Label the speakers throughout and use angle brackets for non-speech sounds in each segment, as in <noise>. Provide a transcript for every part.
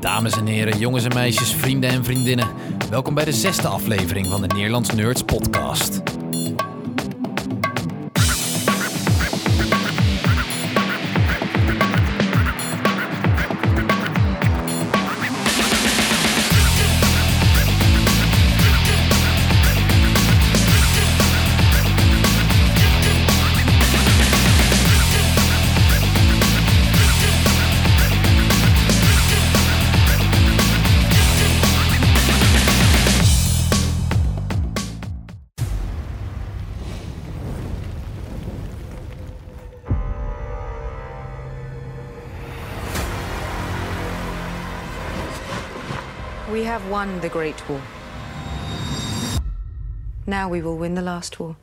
Speaker 1: Dames en heren, jongens en meisjes, vrienden en vriendinnen. Welkom bij de zesde aflevering van de Nederlands Nerds podcast.
Speaker 2: We have won the Great War. Now we will win the last war.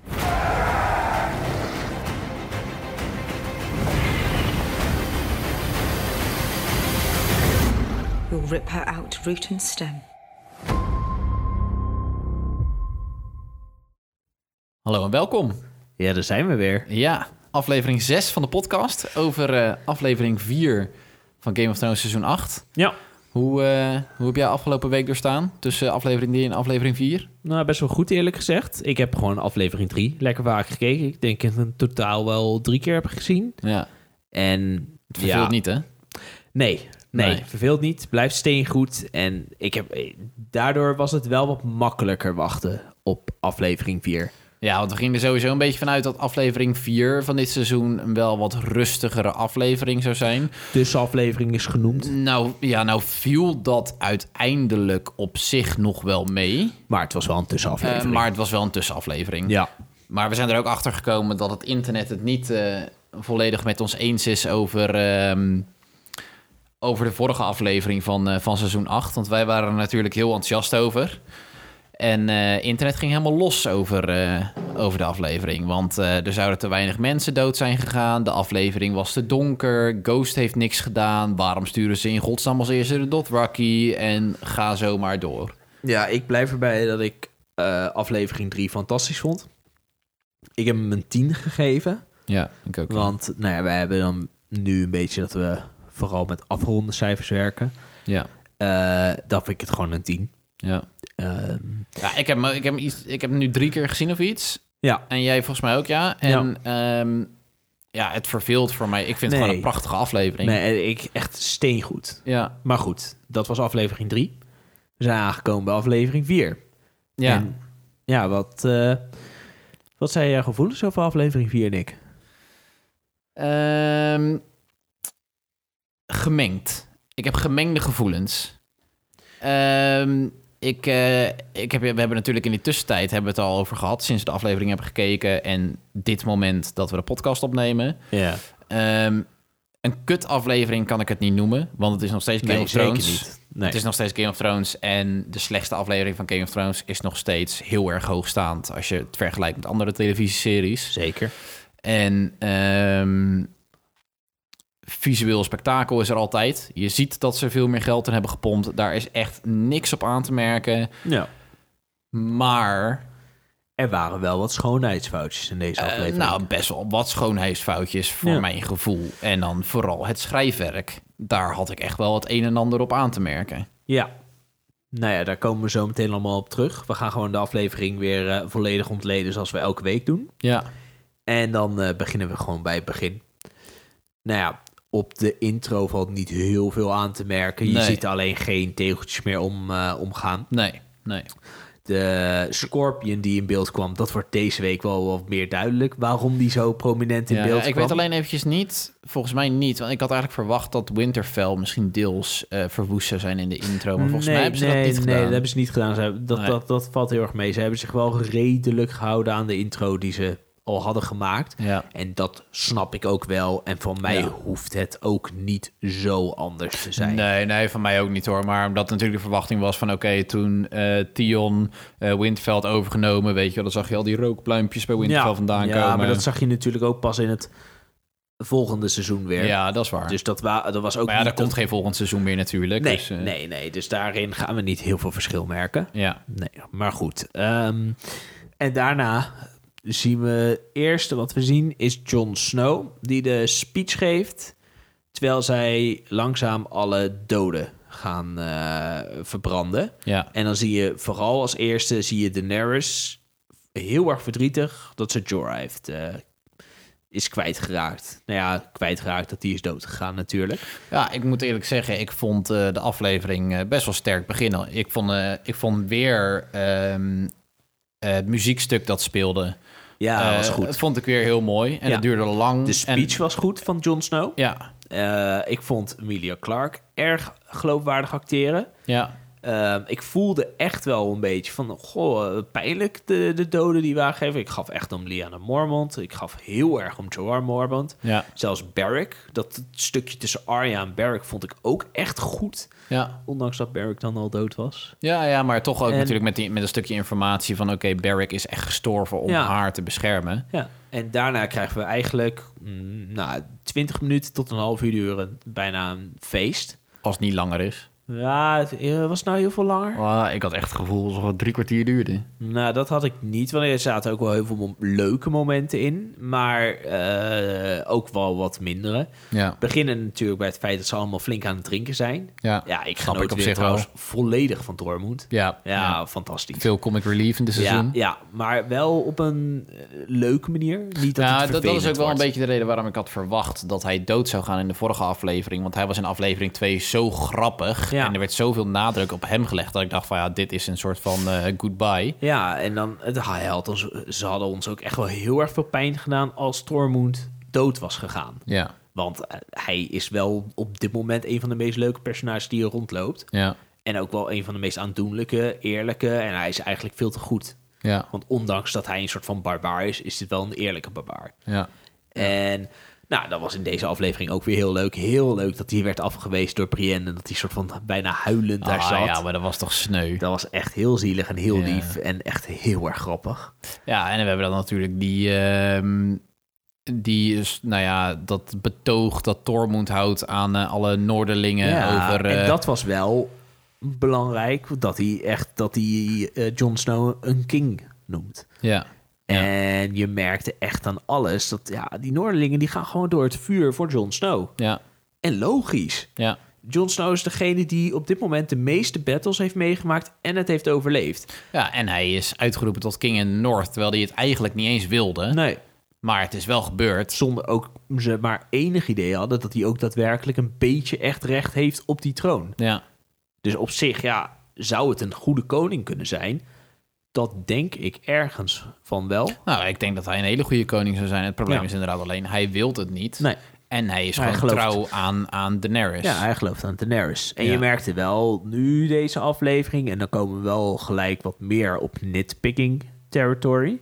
Speaker 2: We'll rip her out root and stem.
Speaker 1: Hallo en welkom.
Speaker 3: Ja, daar zijn we weer.
Speaker 1: Ja, aflevering 6 van de podcast over eh, aflevering 4 van Game of Thrones seizoen 8.
Speaker 3: Ja.
Speaker 1: Hoe, eh, hoe heb jij afgelopen week doorstaan tussen aflevering 3 en aflevering 4?
Speaker 3: Nou, best wel goed eerlijk gezegd. Ik heb gewoon aflevering 3 lekker vaak gekeken. Ik denk dat ik het totaal wel drie keer heb gezien.
Speaker 1: Ja,
Speaker 3: En
Speaker 1: het verveelt
Speaker 3: ja,
Speaker 1: niet hè?
Speaker 3: Nee, nee,
Speaker 1: Nee.
Speaker 3: verveelt niet. Blijft steengoed. En ik heb, eh, daardoor was het wel wat makkelijker wachten op aflevering 4.
Speaker 1: Ja, want we gingen er sowieso een beetje vanuit dat aflevering 4 van dit seizoen een wel wat rustigere aflevering zou zijn.
Speaker 3: Tussenaflevering is genoemd.
Speaker 1: Nou ja, nou viel dat uiteindelijk op zich nog wel mee.
Speaker 3: Maar het was wel een
Speaker 1: Eh,
Speaker 3: tussenaflevering.
Speaker 1: maar het was wel een tussenaflevering.
Speaker 3: Ja.
Speaker 1: Maar we zijn er ook achter gekomen dat het internet het niet eh, volledig met ons eens is over, ehm, over de vorige aflevering van, eh, van seizoen 8. Want wij waren er natuurlijk heel enthousiast over. En eh, internet ging helemaal los over, eh, over de aflevering. Want eh, er zouden te weinig mensen dood zijn gegaan. De aflevering was te donker. Ghost heeft niks gedaan. Waarom sturen ze in godsnaam als eerste de Dothraki? En ga zo maar door.
Speaker 3: Ja, ik blijf erbij dat ik eh, aflevering 3 fantastisch vond. Ik heb hem een 10 gegeven.
Speaker 1: Ja, ik ook.
Speaker 3: Want nou ja, wij hebben dan nu een beetje dat we vooral met afgeronde cijfers werken.
Speaker 1: Ja,
Speaker 3: Eh dan vind ik het gewoon een 10.
Speaker 1: ja.
Speaker 3: Ehm,
Speaker 1: Ja, ik heb, hem- ik, heb hem iets, ik heb hem nu drie keer gezien of iets.
Speaker 3: ja,
Speaker 1: En jij volgens mij ook, ja. En ja, ja het verveelt voor mij. Ik vind het
Speaker 3: Nee.
Speaker 1: gewoon een prachtige aflevering.
Speaker 3: nee, eh, ik echt steengoed.
Speaker 1: Ja,
Speaker 3: Maar goed, dat was aflevering 3. We zijn aangekomen bij aflevering 4.
Speaker 1: ja.
Speaker 3: En, ja, wat, eh, wat zijn jouw gevoelens over aflevering 4, Nick?
Speaker 1: Ehm, gemengd. Ik heb gemengde gevoelens. Ehm, ik, eh, ik heb, we hebben natuurlijk in die tussentijd hebben we het al over gehad... sinds we de aflevering hebben gekeken... en dit moment dat we de podcast opnemen.
Speaker 3: Ja,
Speaker 1: Ehm, een kut aflevering kan ik het niet noemen... want het is nog steeds Game
Speaker 3: nee,
Speaker 1: of
Speaker 3: zeker
Speaker 1: Thrones.
Speaker 3: niet. Nee.
Speaker 1: Het is nog steeds Game of Thrones en de slechtste aflevering van Game of Thrones is nog steeds heel erg hoogstaand als je het vergelijkt met andere televisieseries.
Speaker 3: Zeker.
Speaker 1: En ehm, visueel spektakel is er altijd. Je ziet dat ze veel meer geld in hebben gepompt. Daar is echt niks op aan te merken.
Speaker 3: Ja.
Speaker 1: Maar
Speaker 3: Er waren wel wat schoonheidsfoutjes in deze
Speaker 1: eh,
Speaker 3: aflevering.
Speaker 1: nou, best wel wat schoonheidsfoutjes voor
Speaker 3: Ja.
Speaker 1: mijn gevoel. En dan vooral het schrijfwerk. Daar had ik echt wel het een en ander op aan te merken.
Speaker 3: Ja. Nou ja, daar komen we zo meteen allemaal op terug. We gaan gewoon de aflevering weer eh, volledig ontleden zoals we elke week doen.
Speaker 1: Ja,
Speaker 3: En dan eh, beginnen we gewoon bij het begin. Nou ja, op de intro valt niet heel veel aan te merken. Je
Speaker 1: Nee.
Speaker 3: ziet alleen geen tegeltjes meer om, eh, omgaan.
Speaker 1: nee, nee.
Speaker 3: De Scorpion die in beeld kwam, dat wordt deze week wel wat meer duidelijk. Waarom die zo prominent in
Speaker 1: Ja,
Speaker 3: beeld
Speaker 1: ik
Speaker 3: kwam.
Speaker 1: weet alleen eventjes niet, volgens mij niet, want ik had eigenlijk verwacht dat Winterfell misschien deels eh, verwoest zou zijn in de intro, maar volgens mij hebben ze
Speaker 3: nee,
Speaker 1: dat niet
Speaker 3: nee,
Speaker 1: gedaan.
Speaker 3: dat hebben ze niet gedaan. Ze hebben- dat,
Speaker 1: Nee.
Speaker 3: dat, dat valt heel erg mee. Ze hebben zich wel redelijk gehouden aan de intro die ze al hadden gemaakt.
Speaker 1: Ja.
Speaker 3: En dat snap ik ook wel. En van mij
Speaker 1: Ja.
Speaker 3: hoeft het ook niet zo anders te zijn.
Speaker 1: Nee, nee, van mij ook niet hoor. Maar omdat natuurlijk de verwachting was van... oké, toen eh Tion eh Winterfell had overgenomen... weet je wel, dan zag je al die rookpluimpjes bij Winterfell vandaan
Speaker 3: ja,
Speaker 1: komen.
Speaker 3: maar dat zag je natuurlijk ook pas in het volgende seizoen weer.
Speaker 1: Ja, dat is waar.
Speaker 3: Dus dat, wa dat was ook
Speaker 1: maar ja,
Speaker 3: niet...
Speaker 1: daar komt geen volgend seizoen meer natuurlijk.
Speaker 3: nee,
Speaker 1: dus, eh,
Speaker 3: nee, nee. Dus daarin gaan we niet heel veel verschil merken.
Speaker 1: Ja,
Speaker 3: Nee, maar goed. Ehm, en daarna zien we... Het eerste wat we zien is Jon Snow... die de speech geeft... terwijl zij langzaam alle doden gaan eh, verbranden.
Speaker 1: Ja.
Speaker 3: En dan zie je vooral als eerste zie je Daenerys heel erg verdrietig dat ze Jorah heeft, eh, is kwijtgeraakt. Nou ja, kwijtgeraakt dat die is doodgegaan natuurlijk.
Speaker 1: Ja, ik moet eerlijk zeggen, ik vond eh, de aflevering eh, best wel sterk beginnen. Ik vond, eh, ik vond weer ehm, eh, het muziekstuk dat speelde.
Speaker 3: Ja,
Speaker 1: Eh,
Speaker 3: Ah, was goed.
Speaker 1: Dat vond ik weer heel mooi. En
Speaker 3: Ja.
Speaker 1: het duurde lang.
Speaker 3: De speech
Speaker 1: En,
Speaker 3: was goed van Jon Snow.
Speaker 1: ja,
Speaker 3: Eh, ik vond Emilia Clarke erg geloofwaardig acteren.
Speaker 1: ja.
Speaker 3: Ehm, ik voelde echt wel een beetje van, goh, eh, pijnlijk de, de doden die we aangeven. Ik gaf echt om Liana Mormont. Ik gaf heel erg om Jorah Mormont.
Speaker 1: Ja.
Speaker 3: Zelfs Barrick, dat stukje tussen Arya en Barrick vond ik ook echt goed.
Speaker 1: Ja.
Speaker 3: Ondanks dat Barrick dan al dood was.
Speaker 1: Ja, ja, maar toch ook
Speaker 3: En-
Speaker 1: natuurlijk met, die, met een stukje informatie van... oké, Barrick is echt gestorven om
Speaker 3: Ja.
Speaker 1: haar te beschermen.
Speaker 3: Ja. En daarna krijgen we eigenlijk, mm, nou, 20 minuten tot een half uur duren, bijna een feest.
Speaker 1: Als het niet langer is.
Speaker 3: Ja, het eh, was nou heel veel langer.
Speaker 1: Ah, ik had echt het gevoel alsof het drie kwartier duurde.
Speaker 3: Nou, dat had ik niet. Want er zaten ook wel heel veel mom- leuke momenten in. Maar eh, ook wel wat mindere.
Speaker 1: Ja,
Speaker 3: Beginnen natuurlijk bij het feit dat ze allemaal flink aan het drinken zijn.
Speaker 1: Ja,
Speaker 3: ja ik
Speaker 1: snap
Speaker 3: genoot
Speaker 1: ik op
Speaker 3: weer
Speaker 1: zich wel.
Speaker 3: trouwens volledig van Dortmund.
Speaker 1: Ja,
Speaker 3: ja,
Speaker 1: ja.
Speaker 3: fantastisch.
Speaker 1: veel comic relief in dit seizoen.
Speaker 3: Ja, ja, maar wel op een eh, leuke manier. Niet dat
Speaker 1: ja,
Speaker 3: het
Speaker 1: dat, dat is ook
Speaker 3: vervelend
Speaker 1: wel een
Speaker 3: wordt.
Speaker 1: beetje de reden waarom ik had verwacht dat hij dood zou gaan in de vorige aflevering. Want hij was in aflevering 2 zo grappig.
Speaker 3: Ja.
Speaker 1: En er werd zoveel nadruk op hem gelegd. Dat ik dacht van ja, dit is een soort van eh, goodbye.
Speaker 3: Ja, en dan, het, hij had ons, ze hadden ons ook echt wel heel erg veel pijn gedaan als Tormund dood was gegaan.
Speaker 1: Ja,
Speaker 3: Want eh, hij is wel op dit moment een van de meest leuke personages die er rondloopt.
Speaker 1: ja,
Speaker 3: En ook wel een van de meest aandoenlijke, eerlijke. En hij is eigenlijk veel te goed.
Speaker 1: ja,
Speaker 3: Want ondanks dat hij een soort van barbaar is, is dit wel een eerlijke barbaar.
Speaker 1: ja.
Speaker 3: En nou, dat was in deze aflevering ook weer heel leuk. Heel leuk dat hij werd afgewezen door Brienne. En dat hij soort van bijna huilend daar
Speaker 1: Ah,
Speaker 3: zat.
Speaker 1: ja, maar dat was toch sneu.
Speaker 3: Dat was echt heel zielig en heel
Speaker 1: Ja.
Speaker 3: lief. En echt heel erg grappig.
Speaker 1: Ja, en we hebben dan natuurlijk die, ehm, die is, nou ja, dat betoog dat Tormund houdt aan eh, alle Noorderlingen over...
Speaker 3: en
Speaker 1: eh,
Speaker 3: dat was wel belangrijk. Dat hij echt, dat hij eh, Jon Snow een king noemt.
Speaker 1: Ja, Ja.
Speaker 3: En je merkte echt aan alles dat ja, die Noorderlingen die gaan gewoon door het vuur voor Jon Snow.
Speaker 1: ja,
Speaker 3: En logisch.
Speaker 1: ja.
Speaker 3: Jon Snow is degene die op dit moment de meeste battles heeft meegemaakt en het heeft overleefd.
Speaker 1: Ja, en hij is uitgeroepen tot King in the North, terwijl hij het eigenlijk niet eens wilde.
Speaker 3: Nee,
Speaker 1: Maar het is wel gebeurd.
Speaker 3: zonder ook ze maar enig idee hadden dat hij ook daadwerkelijk een beetje echt recht heeft op die troon.
Speaker 1: Ja,
Speaker 3: Dus op zich, ja, zou het een goede koning kunnen zijn? Dat denk ik ergens van wel.
Speaker 1: nou, ik denk dat hij een hele goede koning zou zijn. Het probleem
Speaker 3: Ja.
Speaker 1: is inderdaad alleen, hij wil het niet.
Speaker 3: Nee.
Speaker 1: En hij is
Speaker 3: Maar hij
Speaker 1: gewoon trouw
Speaker 3: gelooft.
Speaker 1: aan, aan Daenerys.
Speaker 3: Ja, hij gelooft aan Daenerys. En
Speaker 1: Ja.
Speaker 3: je merkte wel nu deze aflevering, en dan komen we wel gelijk wat meer op nitpicking territory.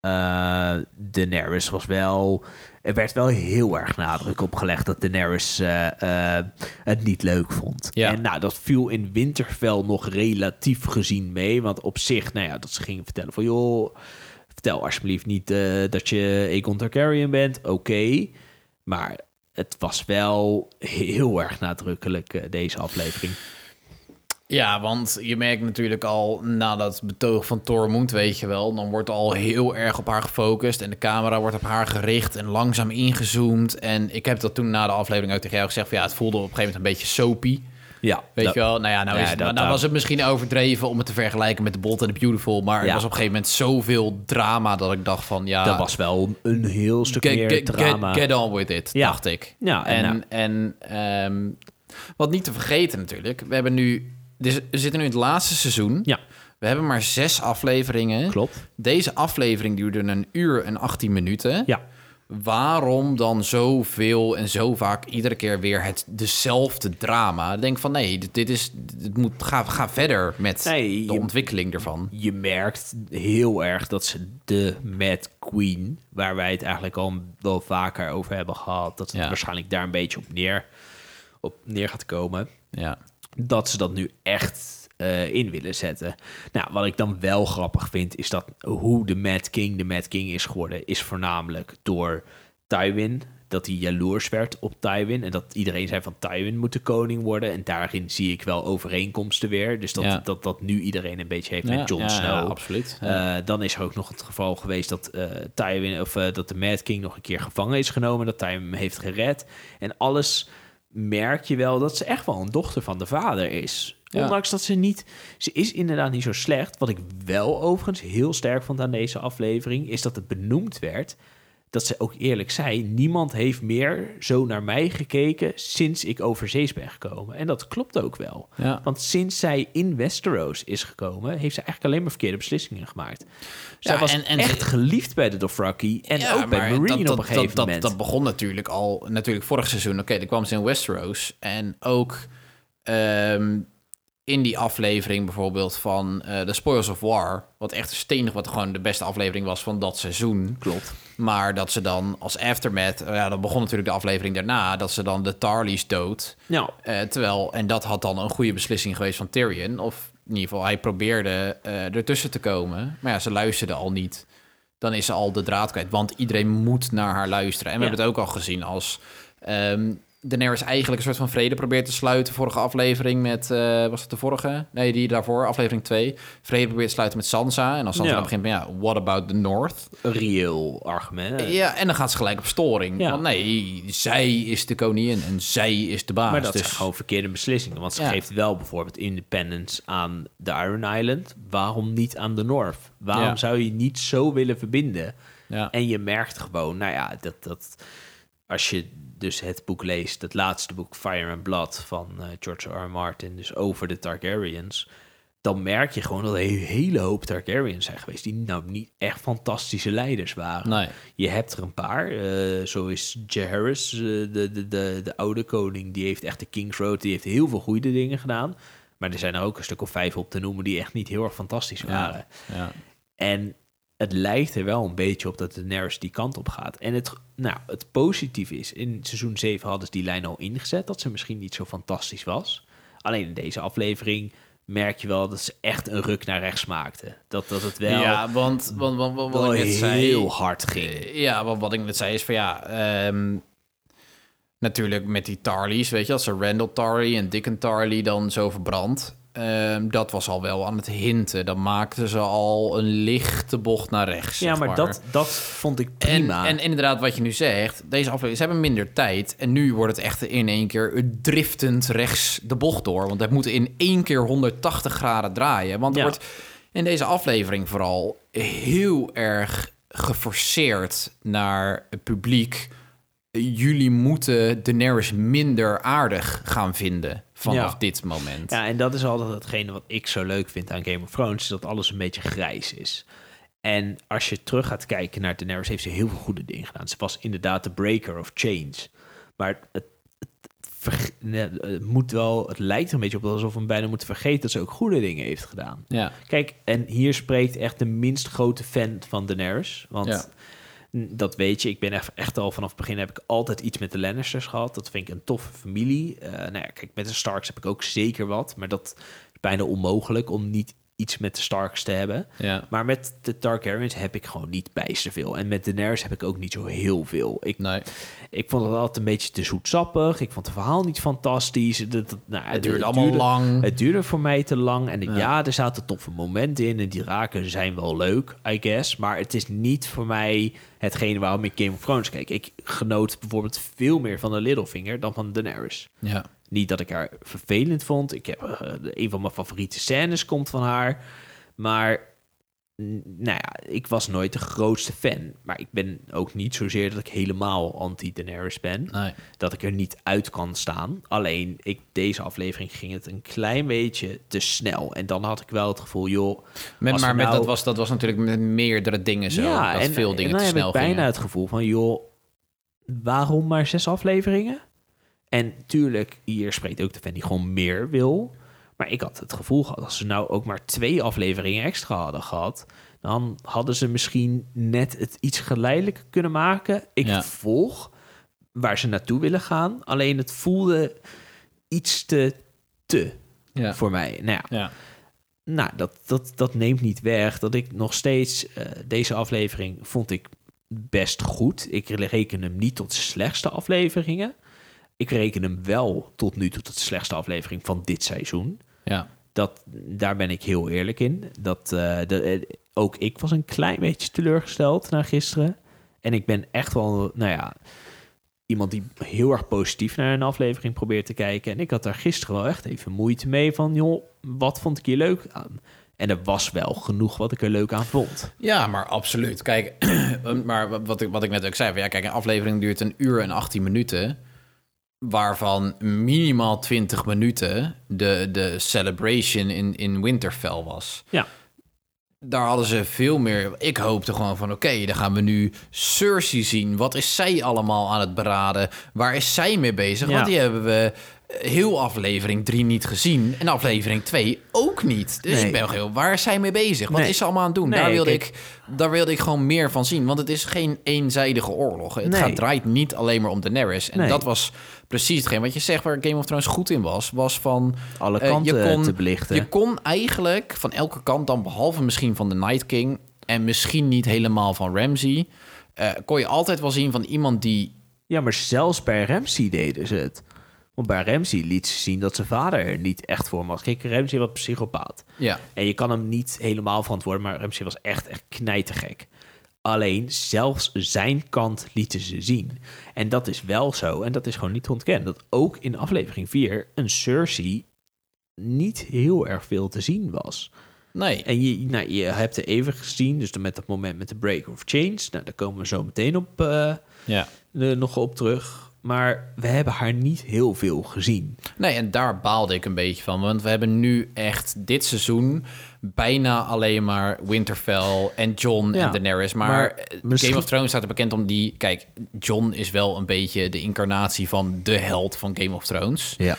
Speaker 3: Eh Daenerys was wel. Er werd wel heel erg nadruk op gelegd dat Daenerys eh, eh, het niet leuk vond.
Speaker 1: Ja.
Speaker 3: En nou, dat viel in Winterfell nog relatief gezien mee. Want op zich, nou ja, dat ze gingen vertellen van joh. Vertel alsjeblieft niet eh, dat je Aegon Targaryen bent. Oké. Maar het was wel heel erg nadrukkelijk, eh, deze aflevering.
Speaker 1: Ja, want je merkt natuurlijk al na dat betoog van Tormund, weet je wel, dan wordt al heel erg op haar gefocust en de camera wordt op haar gericht en langzaam ingezoomd. En ik heb dat toen na de aflevering ook tegen jou gezegd van ja, het voelde op een gegeven moment een beetje soapy.
Speaker 3: Ja,
Speaker 1: Weet
Speaker 3: dat-
Speaker 1: je wel, nou ja, nou,
Speaker 3: Ja,
Speaker 1: is het-
Speaker 3: dat-
Speaker 1: nou
Speaker 3: dat-
Speaker 1: was het misschien overdreven om het te vergelijken met The Bold and the Beautiful, maar er
Speaker 3: Ja.
Speaker 1: was op een gegeven moment zoveel drama dat ik dacht van ja,
Speaker 3: Dat was wel een heel stuk
Speaker 1: get,
Speaker 3: meer
Speaker 1: get-
Speaker 3: drama.
Speaker 1: get- get on with it,
Speaker 3: Ja.
Speaker 1: dacht ik.
Speaker 3: Ja, en nou.
Speaker 1: en en ehm, wat niet te vergeten natuurlijk, we hebben nu, dit is- we zitten nu in het laatste seizoen.
Speaker 3: Ja,
Speaker 1: We hebben maar zes afleveringen.
Speaker 3: klopt.
Speaker 1: Deze aflevering duurde een uur en 18 minuten.
Speaker 3: Ja.
Speaker 1: Waarom dan zoveel en zo vaak iedere keer weer het, dezelfde drama? Ik Denk van nee, dit, dit is, dit moet, ga, ga verder met
Speaker 3: Nee,
Speaker 1: de
Speaker 3: je-
Speaker 1: ontwikkeling ervan.
Speaker 3: Je merkt heel erg dat ze de Mad Queen, waar wij het eigenlijk al wel vaker over hebben gehad, dat het
Speaker 1: Ja.
Speaker 3: waarschijnlijk daar een beetje op neer, op neer gaat komen.
Speaker 1: Ja.
Speaker 3: dat ze dat nu echt eh, in willen zetten. Nou, wat ik dan wel grappig vind, is dat hoe de Mad King de Mad King is geworden, is voornamelijk door Tywin. Dat hij jaloers werd op Tywin. En dat iedereen zei van Tywin moet de koning worden. En daarin zie ik wel overeenkomsten weer. Dus dat
Speaker 1: Ja.
Speaker 3: dat, dat nu iedereen een beetje heeft
Speaker 1: Ja,
Speaker 3: met Jon
Speaker 1: ja, ja,
Speaker 3: Snow.
Speaker 1: absoluut.
Speaker 3: Eh, dan is er ook nog het geval geweest dat eh, Tywin of eh, dat de Mad King nog een keer gevangen is genomen, dat Tywin hem heeft gered en alles merk je wel dat ze echt wel een dochter van de vader is.
Speaker 1: Ja.
Speaker 3: Ondanks dat ze niet... Ze is inderdaad niet zo slecht. Wat ik wel overigens heel sterk vond aan deze aflevering... is dat het benoemd werd dat ze ook eerlijk zei... niemand heeft meer zo naar mij gekeken sinds ik overzees ben gekomen. En dat klopt ook wel.
Speaker 1: Ja.
Speaker 3: Want sinds zij in Westeros is gekomen... heeft ze eigenlijk alleen maar verkeerde beslissingen gemaakt. Zij
Speaker 1: Ja,
Speaker 3: was
Speaker 1: en- en
Speaker 3: echt
Speaker 1: ze-
Speaker 3: geliefd bij de Dothraki... en
Speaker 1: Ja,
Speaker 3: ook bij
Speaker 1: maar
Speaker 3: Marine
Speaker 1: dat,
Speaker 3: op een
Speaker 1: dat-
Speaker 3: gegeven
Speaker 1: dat,
Speaker 3: moment.
Speaker 1: Dat, begon natuurlijk al, natuurlijk vorig seizoen. Oké, dan kwam ze in Westeros. En ook ehm, in die aflevering bijvoorbeeld van eh The Spoils of War... wat echt stenig, wat gewoon de beste aflevering was van dat seizoen.
Speaker 3: Klopt.
Speaker 1: Maar dat ze dan als aftermath... eh, Ja, dan begon natuurlijk de aflevering daarna... dat ze dan de Tarleys dood.
Speaker 3: Nou,
Speaker 1: Eh, terwijl, en dat had dan een goede beslissing geweest van Tyrion. Of in ieder geval, hij probeerde eh, ertussen te komen. Maar ja, ze luisterde al niet. Dan is ze al de draad kwijt. Want iedereen moet naar haar luisteren. En we
Speaker 3: Ja.
Speaker 1: hebben het ook al gezien als... ehm Daenerys eigenlijk een soort van vrede probeert te sluiten. Vorige aflevering met... eh, was het de vorige? Nee, die daarvoor, aflevering 2. Vrede probeert te sluiten met Sansa. En als Sansa
Speaker 3: Ja.
Speaker 1: dan begint met... Ja, what about the North?
Speaker 3: een reëel argument.
Speaker 1: Ja, en dan gaat ze gelijk op storing.
Speaker 3: Eh, Ja.
Speaker 1: Want nee, zij is de koningin en zij is de baas.
Speaker 3: maar dat
Speaker 1: dus...
Speaker 3: zijn gewoon verkeerde beslissingen. Want ze
Speaker 1: Ja.
Speaker 3: geeft wel bijvoorbeeld independence aan de Iron Island. Waarom niet aan de North? Waarom
Speaker 1: Ja.
Speaker 3: zou je niet zo willen verbinden?
Speaker 1: Ja.
Speaker 3: En je merkt gewoon, nou ja, dat, dat als je dus het boek leest, het laatste boek Fire and Blood van eh, George R. R. Martin, dus over de Targaryens, dan merk je gewoon dat er een hele hoop Targaryens zijn geweest die nou niet echt fantastische leiders waren.
Speaker 1: Nee.
Speaker 3: Je hebt er een paar. eh, zo is Jaehaerys, eh, de, de, de, de oude koning, die heeft echt de King's Road, die heeft heel veel goede dingen gedaan. Maar er zijn er ook een stuk of vijf op te noemen die echt niet heel erg fantastisch waren.
Speaker 1: Ja.
Speaker 3: En het lijkt er wel een beetje op dat de Daenerys die kant op gaat. En het, nou, het positieve is, in seizoen 7 hadden ze die lijn al ingezet... dat ze misschien niet zo fantastisch was. Alleen in deze aflevering merk je wel dat ze echt een ruk naar rechts maakte. Dat, dat het wel,
Speaker 1: ja, want, want, want, want
Speaker 3: wel
Speaker 1: wat ik net zei...
Speaker 3: heel hard ging.
Speaker 1: Ja, want wat ik net zei is van ja... ehm, natuurlijk met die Tarleys, weet je... als ze Randall Tarly en Dick en Tarly dan zo verbrand... ehm, dat was al wel aan het hinten. Dan maakten ze al een lichte bocht naar rechts.
Speaker 3: Ja,
Speaker 1: zeg
Speaker 3: maar dat, dat vond ik
Speaker 1: En,
Speaker 3: prima.
Speaker 1: en inderdaad, wat je nu zegt, deze aflevering, ze hebben minder tijd. En nu wordt het echt in één keer driftend rechts de bocht door. Want het moet in één keer 180 graden draaien. Want er
Speaker 3: Ja.
Speaker 1: wordt in deze aflevering vooral heel erg geforceerd naar het publiek. Jullie moeten Daenerys minder aardig gaan vinden vanaf
Speaker 3: Ja.
Speaker 1: dit moment.
Speaker 3: Ja, en dat is altijd hetgene wat ik zo leuk vind aan Game of Thrones, is dat alles een beetje grijs is. En als je terug gaat kijken naar Daenerys, heeft ze heel veel goede dingen gedaan. Ze was inderdaad de breaker of change. Maar het, het, het verg- nee, het moet wel, het lijkt er een beetje op alsof we bijna moeten vergeten dat ze ook goede dingen heeft gedaan.
Speaker 1: Ja.
Speaker 3: Kijk, en hier spreekt echt de minst grote fan van Daenerys. Want
Speaker 1: Ja.
Speaker 3: n- dat weet je, ik ben echt, echt al vanaf het begin heb ik altijd iets met de Lannisters gehad. Dat vind ik een toffe familie. Eh, nou ja, kijk, met de Starks heb ik ook zeker wat. Maar dat is bijna onmogelijk om niet iets met de Starks te hebben.
Speaker 1: Ja.
Speaker 3: Maar met de Targaryens heb ik gewoon niet bijster veel. En met Daenerys heb ik ook niet zo heel veel. Ik,
Speaker 1: Nee.
Speaker 3: ik vond het altijd een beetje te zoetsappig. Ik vond het verhaal niet fantastisch. Dat, dat, nou, het
Speaker 1: duurde allemaal lang.
Speaker 3: Het duurde voor mij te lang. En ja. er zaten toffe momenten in. En die raken zijn wel leuk, I guess. Maar het is niet voor mij hetgene waarom ik Game of Thrones kijk. Ik genoot bijvoorbeeld veel meer van de Littlefinger dan van Daenerys.
Speaker 1: Ja.
Speaker 3: Niet dat ik haar vervelend vond. Ik heb eh, een van mijn favoriete scènes komt van haar. Maar n- nou ja, ik was nooit de grootste fan. Maar ik ben ook niet zozeer dat ik helemaal anti-Daenerys ben.
Speaker 1: Nee.
Speaker 3: Dat ik er niet uit kan staan. Alleen, ik, deze aflevering ging het een klein beetje te snel. En dan had ik wel het gevoel, joh...
Speaker 1: Met,
Speaker 3: als er
Speaker 1: maar met,
Speaker 3: nou-
Speaker 1: dat, was, dat was natuurlijk met meerdere dingen zo. dat veel dingen
Speaker 3: en dan
Speaker 1: te snel
Speaker 3: heb ik bijna
Speaker 1: gingen.
Speaker 3: het gevoel van, joh, waarom maar zes afleveringen? En tuurlijk, hier spreekt ook de fan die gewoon meer wil. Maar ik had het gevoel gehad, als ze nou ook maar twee afleveringen extra hadden gehad, dan hadden ze misschien net het iets geleidelijker kunnen maken. Ik
Speaker 1: Ja.
Speaker 3: volg waar ze naartoe willen gaan. Alleen het voelde iets te te
Speaker 1: Ja.
Speaker 3: voor mij. Nou ja,
Speaker 1: Ja.
Speaker 3: nou, dat, dat, dat neemt niet weg dat ik nog steeds eh, deze aflevering vond ik best goed. Ik reken hem niet tot de slechtste afleveringen. Ik reken hem wel tot nu toe tot de slechtste aflevering van dit seizoen.
Speaker 1: Ja.
Speaker 3: Dat, daar ben ik heel eerlijk in. Dat, eh, dat, eh, ook ik was een klein beetje teleurgesteld na gisteren. En ik ben echt wel, nou ja, iemand die heel erg positief naar een aflevering probeert te kijken. En ik had daar gisteren wel echt even moeite mee van, joh, wat vond ik hier leuk aan? En er was wel genoeg wat ik er leuk aan vond.
Speaker 1: Ja, maar absoluut. Kijk, <clears throat> maar wat ik, wat ik net ook zei, van, ja, kijk, een aflevering duurt een uur en 18 minuten. Waarvan minimaal 20 minuten de, de celebration in, in Winterfell was.
Speaker 3: Ja.
Speaker 1: Daar hadden ze veel meer. Ik hoopte gewoon van: oké, dan gaan we nu Cersei zien. Wat is zij allemaal aan het beraden? Waar is zij mee bezig?
Speaker 3: Ja.
Speaker 1: Want die hebben we eh, heel aflevering 3 niet gezien. En aflevering 2 ook niet. Dus
Speaker 3: Nee.
Speaker 1: ik ben nog heel. Waar is zij mee bezig? Wat
Speaker 3: Nee.
Speaker 1: is ze allemaal aan het doen?
Speaker 3: Nee,
Speaker 1: daar, wilde
Speaker 3: kijk-
Speaker 1: ik, daar wilde ik gewoon meer van zien. Want het is geen eenzijdige oorlog. Het
Speaker 3: Nee.
Speaker 1: gaat, draait niet alleen maar om Daenerys. En
Speaker 3: Nee.
Speaker 1: dat was precies hetgeen wat je zegt waar Game of Thrones goed in was. Was van...
Speaker 3: Alle
Speaker 1: eh, je
Speaker 3: kanten
Speaker 1: kon-
Speaker 3: te belichten.
Speaker 1: Je kon eigenlijk van elke kant dan, behalve misschien van de Night King... en misschien niet helemaal van Ramsay... eh, kon je altijd wel zien van iemand die
Speaker 3: Ja, maar zelfs bij Ramsey deden ze het. Want bij Ramsey liet ze zien dat zijn vader er niet echt voor hem was. Kijk, Ramsey was psychopaat.
Speaker 1: Ja.
Speaker 3: En je kan hem niet helemaal verantwoorden, maar Ramsey was echt, echt knijtergek. Alleen zelfs zijn kant lieten ze zien. En dat is wel zo, en dat is gewoon niet te ontkennen, dat ook in aflevering 4 een Cersei niet heel erg veel te zien was.
Speaker 1: Nee.
Speaker 3: En je, nou, je hebt er even gezien, dus dan met dat moment met de break of change, nou, daar komen we zo meteen op. eh,
Speaker 1: Ja.
Speaker 3: er nog op terug. Maar we hebben haar niet heel veel gezien.
Speaker 1: Nee, en daar baalde ik een beetje van. Want we hebben nu echt dit seizoen bijna alleen maar Winterfell en Jon
Speaker 3: Ja,
Speaker 1: en Daenerys. Maar,
Speaker 3: maar
Speaker 1: eh,
Speaker 3: misschien-
Speaker 1: Game of Thrones staat er bekend om die... Kijk, Jon is wel een beetje de incarnatie van de held van Game of Thrones.
Speaker 3: Ja.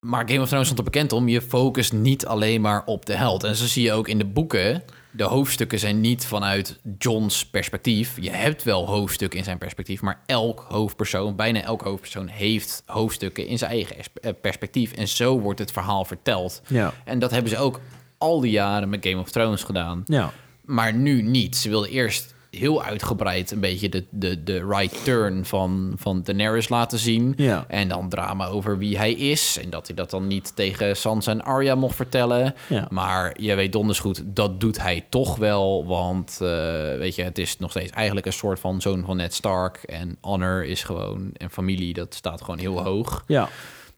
Speaker 1: Maar Game of Thrones stond er bekend om, je focust niet alleen maar op de held. En zo zie je ook in de boeken, de hoofdstukken zijn niet vanuit John's perspectief. Je hebt wel hoofdstukken in zijn perspectief, maar elk hoofdpersoon, bijna elk hoofdpersoon, heeft hoofdstukken in zijn eigen es- eh, perspectief. En zo wordt het verhaal verteld.
Speaker 3: Ja.
Speaker 1: En dat hebben ze ook al die jaren met Game of Thrones gedaan.
Speaker 3: Ja.
Speaker 1: Maar nu niet. Ze wilden eerst heel uitgebreid een beetje de, de, de right turn van, van Daenerys laten zien.
Speaker 3: Ja.
Speaker 1: En dan drama over wie hij is. En dat hij dat dan niet tegen Sansa en Arya mocht vertellen.
Speaker 3: Ja.
Speaker 1: Maar je weet donders goed, dat doet hij toch wel. Want eh, weet je, het is nog steeds eigenlijk een soort van zoon van Ned Stark. En honor is gewoon, en familie, dat staat gewoon heel hoog.
Speaker 3: Ja.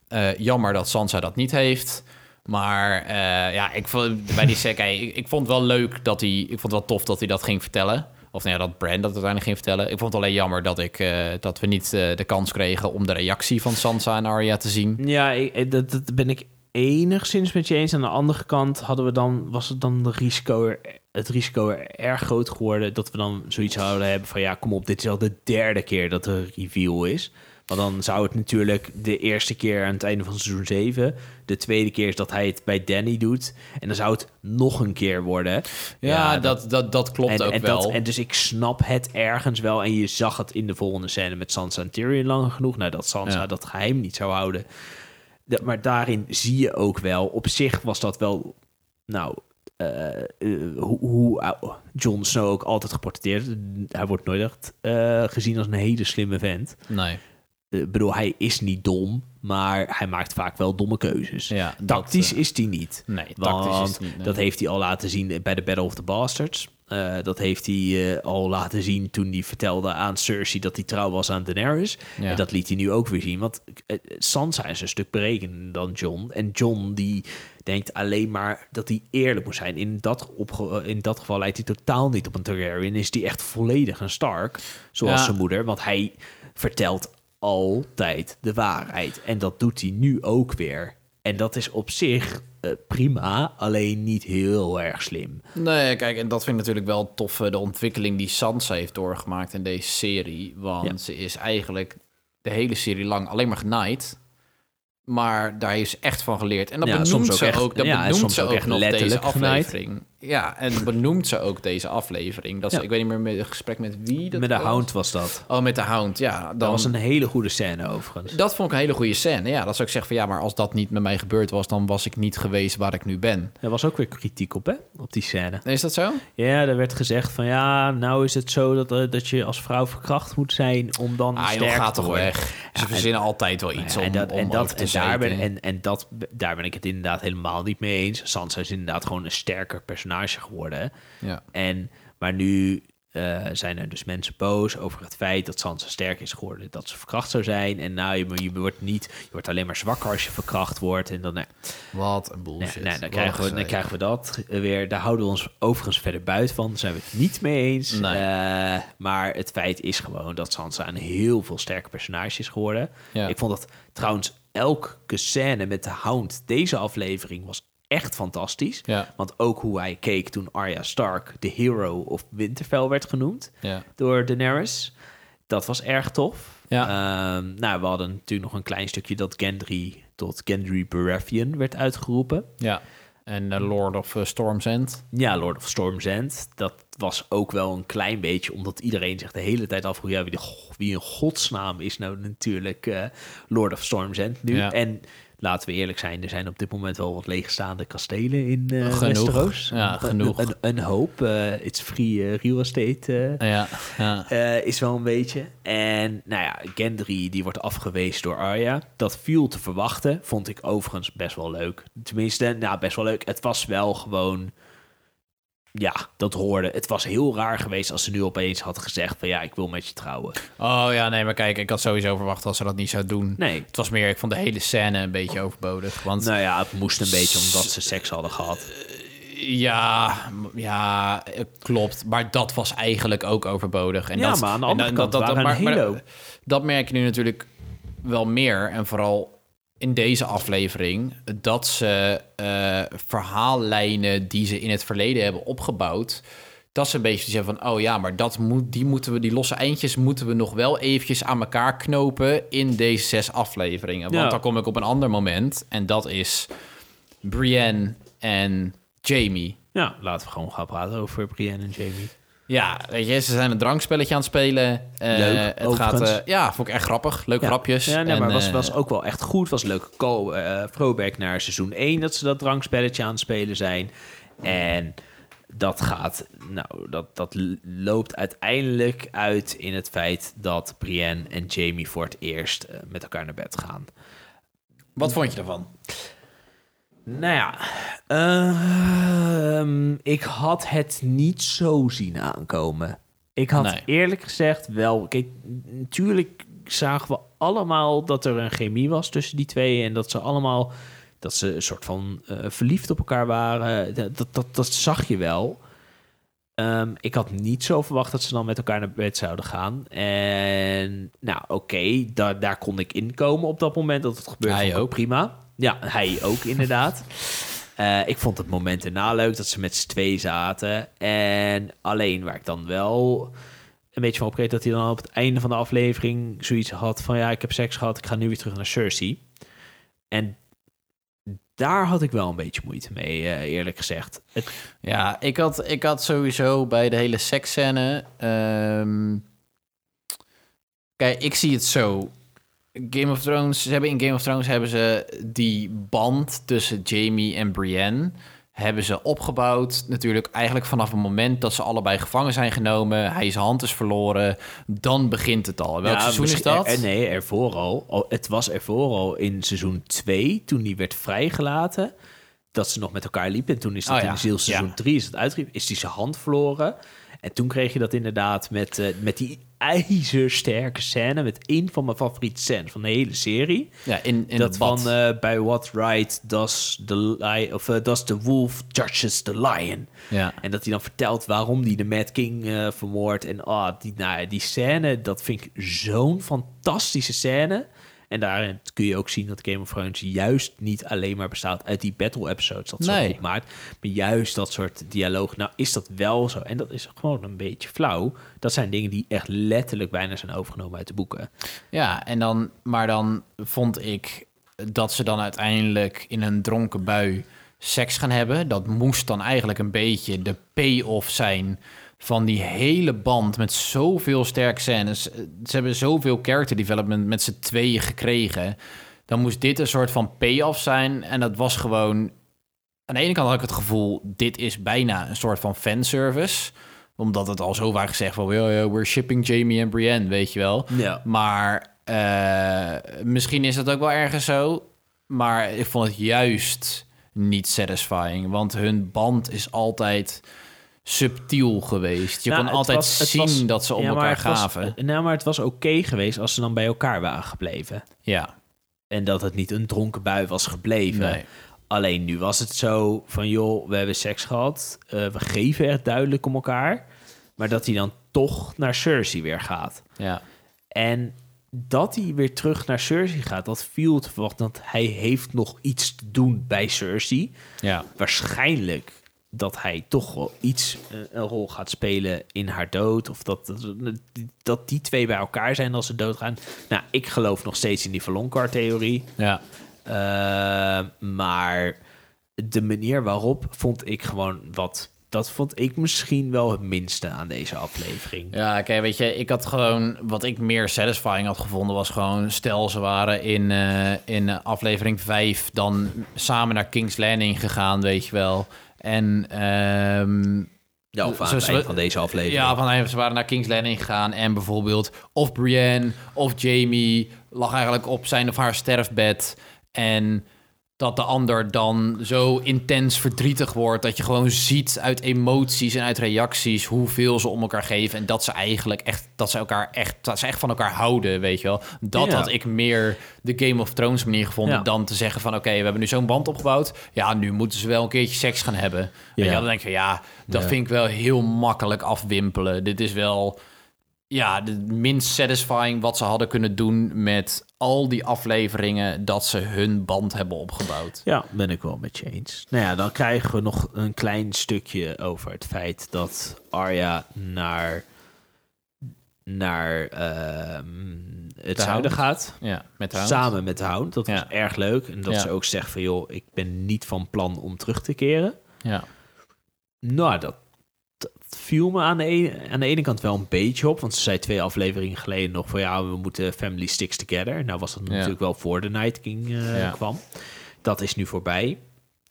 Speaker 1: Eh, jammer dat Sansa dat niet heeft. Maar eh, ja, ik vond, bij die Sekai, ik, ik vond wel leuk dat hij... Ik vond wel tof dat hij dat ging vertellen. Of nou ja, dat Bran dat uiteindelijk ging vertellen. Ik vond het alleen jammer dat, ik, eh, dat we niet eh, de kans kregen... om de reactie van Sansa en Arya te zien.
Speaker 3: Ja, ik- ik- dat, dat ben ik enigszins met je eens. Aan de andere kant hadden we dan, was het dan de risico er- het risico er erg groot geworden... dat we dan zoiets zouden hebben van... ja, kom op, dit is al de derde keer dat er reveal is. Want dan zou het natuurlijk de eerste keer aan het einde van seizoen 7... de tweede keer is dat hij het bij Danny doet... en dan zou het nog een keer worden.
Speaker 1: Ja, dat, dat, dat klopt
Speaker 3: en,
Speaker 1: ook
Speaker 3: en
Speaker 1: wel.
Speaker 3: Dat, en dus ik snap het ergens wel. En je zag het in de volgende scène met Sansa en Tyrion lang genoeg. Nou, dat Sansa
Speaker 1: Ja.
Speaker 3: dat geheim niet zou houden. Dat, maar daarin zie je ook wel... Op zich was dat wel... Nou, eh, eh, hoe, hoe ou- Jon Snow ook altijd geportretteerd. Hij wordt nooit echt eh, gezien als een hele slimme vent.
Speaker 1: Nee.
Speaker 3: Eh, Ik bedoel, hij is niet dom, maar hij maakt vaak wel domme keuzes.
Speaker 1: Ja, dat,
Speaker 3: tactisch
Speaker 1: eh,
Speaker 3: is hij niet.
Speaker 1: nee, tactisch
Speaker 3: want
Speaker 1: is hij niet, nee.
Speaker 3: dat heeft hij al laten zien bij de Battle of the Bastards. Eh, dat heeft hij eh, al laten zien toen hij vertelde aan Cersei dat hij trouw was aan Daenerys.
Speaker 1: Ja.
Speaker 3: En dat liet hij nu ook weer zien. Want eh, Sansa is een stuk berekender dan John. En John die denkt alleen maar dat hij eerlijk moet zijn. In dat, opge- in dat geval lijkt hij totaal niet op een Targaryen. Is hij echt volledig een Stark, zoals
Speaker 1: Ja.
Speaker 3: zijn moeder. Want hij vertelt altijd de waarheid. En dat doet hij nu ook weer. En dat is op zich eh, prima, alleen niet heel erg slim.
Speaker 1: Nee, kijk, en dat vind ik natuurlijk wel tof, eh, de ontwikkeling die Sansa heeft doorgemaakt in deze serie. Want
Speaker 3: Ja.
Speaker 1: ze is eigenlijk de hele serie lang alleen maar genaaid. Maar daar heeft ze echt van geleerd. En dat
Speaker 3: Ja,
Speaker 1: benoemt
Speaker 3: soms ook
Speaker 1: ze
Speaker 3: echt-
Speaker 1: ook, dat
Speaker 3: ja, en
Speaker 1: benoemt
Speaker 3: soms
Speaker 1: ze
Speaker 3: ook
Speaker 1: ook
Speaker 3: echt
Speaker 1: nog deze
Speaker 3: letterlijk genaaid.
Speaker 1: aflevering. Ja, en benoemt ze ook deze aflevering. Dat ze,
Speaker 3: Ja.
Speaker 1: Ik weet niet meer met een gesprek met wie dat
Speaker 3: Met de
Speaker 1: was.
Speaker 3: Hound was dat.
Speaker 1: Oh, met de Hound, ja. Dan,
Speaker 3: Dat was een hele goede scène overigens.
Speaker 1: dat vond ik een hele goede scène. Ja, dat zou ik zeggen van ja, maar als dat niet met mij gebeurd was, dan was ik niet geweest waar ik nu ben.
Speaker 3: Er was ook weer kritiek op, hè? Op die scène.
Speaker 1: Is dat zo?
Speaker 3: Ja, er werd gezegd van ja, nou is het zo dat, eh, dat je als vrouw verkracht moet zijn om dan
Speaker 1: Ah, joh,
Speaker 3: sterk
Speaker 1: gaat
Speaker 3: te
Speaker 1: toch
Speaker 3: worden.
Speaker 1: weg.
Speaker 3: Ja,
Speaker 1: Ze
Speaker 3: en-
Speaker 1: verzinnen altijd wel iets om,
Speaker 3: en dat,
Speaker 1: om
Speaker 3: en, dat,
Speaker 1: over te
Speaker 3: en, daar ben,
Speaker 1: zeiken.
Speaker 3: en, en dat, daar ben ik het inderdaad helemaal niet mee eens. Sansa is inderdaad gewoon een sterker personage geworden.
Speaker 1: Ja.
Speaker 3: En, maar nu eh, zijn er dus mensen boos over het feit dat Sansa sterk is geworden, dat ze verkracht zou zijn. En nou, je, je wordt niet, je wordt alleen maar zwakker als je verkracht wordt. En dan, nou,
Speaker 1: Wat een
Speaker 3: nou,
Speaker 1: bullshit.
Speaker 3: nou, dan,
Speaker 1: Wat
Speaker 3: krijgen we, dan
Speaker 1: gezeik.
Speaker 3: krijgen we dat weer. Daar houden we ons overigens verder buiten van. Daar zijn we het niet mee eens.
Speaker 1: Nee.
Speaker 3: Eh, maar het feit is gewoon dat Sansa een heel veel sterke personage is geworden.
Speaker 1: Ja.
Speaker 3: Ik vond dat trouwens elke scène met de Hound deze aflevering was echt fantastisch.
Speaker 1: Ja.
Speaker 3: Want ook hoe hij keek toen Arya Stark de hero of Winterfell werd genoemd
Speaker 1: Ja.
Speaker 3: door Daenerys. Dat was erg tof.
Speaker 1: Ja.
Speaker 3: Ehm, nou, we hadden natuurlijk nog een klein stukje dat Gendry tot Gendry Baratheon werd uitgeroepen.
Speaker 1: Ja. En eh, Lord of eh, Storm's End.
Speaker 3: Ja, Lord of Storm's End. Dat was ook wel een klein beetje, omdat iedereen zich de hele tijd afvroeg... Ja, wie, de go- wie in godsnaam is nou natuurlijk eh, Lord of Storm's End nu?
Speaker 1: Ja.
Speaker 3: En laten we eerlijk zijn, er zijn op dit moment wel wat leegstaande kastelen in eh
Speaker 1: Genoeg.
Speaker 3: Westeros.
Speaker 1: Ja,
Speaker 3: Een-
Speaker 1: genoeg.
Speaker 3: Een, een hoop. eh it's free eh, real estate. eh,
Speaker 1: Ja. ja.
Speaker 3: eh, is wel een beetje. En nou ja, Gendry die wordt afgewezen door Arya. Dat viel te verwachten. Vond ik overigens best wel leuk. Tenminste, nou best wel leuk. Het was wel gewoon... Ja, dat hoorde. Het was heel raar geweest als ze nu opeens had gezegd van... Ja, ik wil met je trouwen.
Speaker 1: Oh ja, nee, maar kijk, ik had sowieso verwacht dat ze dat niet zou doen.
Speaker 3: Nee.
Speaker 1: Het was meer, ik vond de hele scène een beetje overbodig. Want
Speaker 3: Nou ja, het moest een beetje omdat ze seks hadden gehad.
Speaker 1: ja, m- ja, eh, klopt. Maar dat was eigenlijk ook overbodig. En
Speaker 3: Ja,
Speaker 1: dat,
Speaker 3: maar aan de
Speaker 1: en
Speaker 3: andere
Speaker 1: dan-
Speaker 3: kant waren er een hele hoop.
Speaker 1: dat merk je nu natuurlijk wel meer. En vooral in deze aflevering. Dat ze eh, verhaallijnen die ze in het verleden hebben opgebouwd. Dat ze een beetje zeggen van, oh ja, maar dat moet, die, moeten we, die losse eindjes moeten we nog wel eventjes aan elkaar knopen in deze zes afleveringen. Want
Speaker 3: Ja.
Speaker 1: dan kom ik op een ander moment. En dat is Brienne en Jamie.
Speaker 3: Ja, laten we gewoon gaan praten over Brienne en Jamie.
Speaker 1: Ja, weet je, ze zijn een drankspelletje aan het spelen. Eh,
Speaker 3: Leuk,
Speaker 1: het gaat,
Speaker 3: overigens.
Speaker 1: eh, Ja, vond ik echt grappig. Leuke
Speaker 3: Ja.
Speaker 1: grapjes.
Speaker 3: Ja, nee,
Speaker 1: En,
Speaker 3: maar was,
Speaker 1: eh,
Speaker 3: was ook wel echt goed. Was een leuke call, eh throwback naar seizoen 1 dat ze dat drankspelletje aan het spelen zijn. En dat gaat, nou, dat, dat l- loopt uiteindelijk uit in het feit dat Brienne en Jamie voor het eerst eh, met elkaar naar bed gaan.
Speaker 1: Wat vond je ervan?
Speaker 3: Nou ja, ehm, ik had het niet zo zien aankomen. Ik had
Speaker 1: Nee.
Speaker 3: eerlijk gezegd wel. Kijk, natuurlijk zagen we allemaal dat er een chemie was tussen die twee. En dat ze allemaal. dat ze een soort van eh, verliefd op elkaar waren. Dat, dat, dat, dat zag je wel. Ehm, ik had niet zo verwacht dat ze dan met elkaar naar bed zouden gaan. En nou, oké, daar, daar kon ik inkomen op dat moment dat het gebeurde.
Speaker 1: Hij
Speaker 3: Vond ik
Speaker 1: ook.
Speaker 3: Prima. Ja, hij ook inderdaad. <laughs> Eh, ik vond het moment erna leuk dat ze met z'n twee zaten. En alleen waar ik dan wel een beetje van opreed... dat hij dan op het einde van de aflevering zoiets had van... ja, ik heb seks gehad, ik ga nu weer terug naar Cersei. En daar had ik wel een beetje moeite mee, eh, eerlijk gezegd. Het,
Speaker 1: Ja, ik had, ik had sowieso bij de hele seksscène... ehm, Kijk, ik zie het zo. Game of Thrones, ze hebben in Game of Thrones hebben ze die band tussen Jamie en Brienne hebben ze opgebouwd. Natuurlijk eigenlijk vanaf het moment dat ze allebei gevangen zijn genomen, hij zijn hand is verloren, dan begint het al. Welk
Speaker 3: Ja,
Speaker 1: seizoen is
Speaker 3: misschien-
Speaker 1: dat?
Speaker 3: er- er- nee, ervoor al. Al- Het was ervoor al in seizoen 2, toen die werd vrijgelaten, dat ze nog met elkaar liepen. En toen is dat
Speaker 1: Oh ja,
Speaker 3: in heel seizoen
Speaker 1: ja.
Speaker 3: 3 is dat uitgeriep, is die zijn hand verloren. En toen kreeg je dat inderdaad met, eh, met die ijzersterke scène, met één van mijn favoriete scènes van de hele serie.
Speaker 1: ja, in, in
Speaker 3: dat
Speaker 1: het bad.
Speaker 3: van eh, bij What Right does the, li- of, eh, does the Wolf Judges the Lion.
Speaker 1: Ja.
Speaker 3: En dat hij dan vertelt waarom hij de Mad King eh vermoordt. En ah, die, nou, ja, die scène, dat vind ik zo'n fantastische scène. En daarin kun je ook zien dat Game of Thrones juist niet alleen maar bestaat uit die battle episodes. Dat
Speaker 1: Nee.
Speaker 3: zo goed maakt. Maar juist dat soort dialoog. Nou is dat wel zo. En dat is gewoon een beetje flauw. Dat zijn dingen die echt letterlijk bijna zijn overgenomen uit de boeken.
Speaker 1: Ja, en dan, maar dan vond ik dat ze dan uiteindelijk in een dronken bui seks gaan hebben. Dat moest dan eigenlijk een beetje de payoff zijn van die hele band met zoveel sterke scènes. Eh, Ze hebben zoveel character development met z'n tweeën gekregen. Dan moest dit een soort van payoff zijn. En dat was gewoon aan de ene kant had ik het gevoel, dit is bijna een soort van fanservice. Omdat het al zo vaak gezegd van, yo, yo, we're shipping Jamie en Brienne, weet je wel.
Speaker 3: Ja.
Speaker 1: Maar eh, misschien is dat ook wel ergens zo. Maar ik vond het juist niet satisfying. Want hun band is altijd subtiel geweest. Je
Speaker 3: Nou,
Speaker 1: kon
Speaker 3: het
Speaker 1: altijd
Speaker 3: was- het
Speaker 1: zien
Speaker 3: was-
Speaker 1: dat ze om
Speaker 3: ja, maar
Speaker 1: elkaar
Speaker 3: het was-
Speaker 1: gaven.
Speaker 3: eh, nou, maar het was oké geweest als ze dan bij elkaar waren gebleven.
Speaker 1: ja,
Speaker 3: En dat het niet een dronken bui was gebleven.
Speaker 1: nee.
Speaker 3: Alleen nu was het zo van, joh, we hebben seks gehad. eh, we geven echt duidelijk om elkaar. Maar dat hij dan toch naar Cersei weer gaat.
Speaker 1: Ja.
Speaker 3: En dat hij weer terug naar Cersei gaat, dat viel te verwachten. Want hij heeft nog iets te doen bij Cersei.
Speaker 1: Ja.
Speaker 3: Waarschijnlijk dat hij toch wel iets, eh, een rol gaat spelen in haar dood. Of dat, dat, dat die twee bij elkaar zijn als ze doodgaan. Nou, ik geloof nog steeds in die Verlonkar-theorie.
Speaker 1: Ja.
Speaker 3: Eh, maar de manier waarop vond ik gewoon wat... Dat vond ik misschien wel het minste aan deze aflevering.
Speaker 1: Ja, kijk, weet je, ik had gewoon... Wat ik meer satisfying had gevonden was gewoon... Stel, ze waren in, eh, in eh, aflevering 5 dan samen naar King's Landing gegaan, weet je wel. En... ehm,
Speaker 3: Ja, of aan
Speaker 1: Zo-
Speaker 3: het
Speaker 1: zo-
Speaker 3: eind van deze aflevering.
Speaker 1: Ja, van, eh, ze waren naar King's Landing gegaan en bijvoorbeeld of Brienne of Jamie lag eigenlijk op zijn of haar sterfbed. En dat de ander dan zo intens verdrietig wordt dat je gewoon ziet uit emoties en uit reacties hoeveel ze om elkaar geven. En dat ze eigenlijk echt, dat ze elkaar echt, dat ze echt van elkaar houden, weet je wel. Dat
Speaker 3: Ja.
Speaker 1: had ik meer de Game of Thrones manier gevonden
Speaker 3: Ja.
Speaker 1: dan te zeggen van oké, we hebben nu zo'n band opgebouwd. Ja, nu moeten ze wel een keertje seks gaan hebben. Weet je wel, dan denk je van ja, dat vind ik wel heel makkelijk afwimpelen. Dit is wel ja, het minst satisfying wat ze hadden kunnen doen met al die afleveringen dat ze hun band hebben opgebouwd.
Speaker 3: Ja, ben ik wel met je eens. Nou ja, dan krijgen we nog een klein stukje over het feit dat Arya naar, naar ehm, het
Speaker 1: De
Speaker 3: zuiden gaat.
Speaker 1: Ja, met haar.
Speaker 3: Samen met de Hound. Dat was
Speaker 1: Ja.
Speaker 3: erg leuk. En dat
Speaker 1: Ja.
Speaker 3: ze ook zegt van, joh, ik ben niet van plan om terug te keren.
Speaker 1: Ja.
Speaker 3: Nou, dat, dat viel me aan de, ene, aan de ene kant wel een beetje op. Want ze zei twee afleveringen geleden nog van ja, we moeten Family Sticks Together. Nou was dat natuurlijk wel voor de Night King eh,
Speaker 1: Ja.
Speaker 3: kwam. Dat is nu voorbij.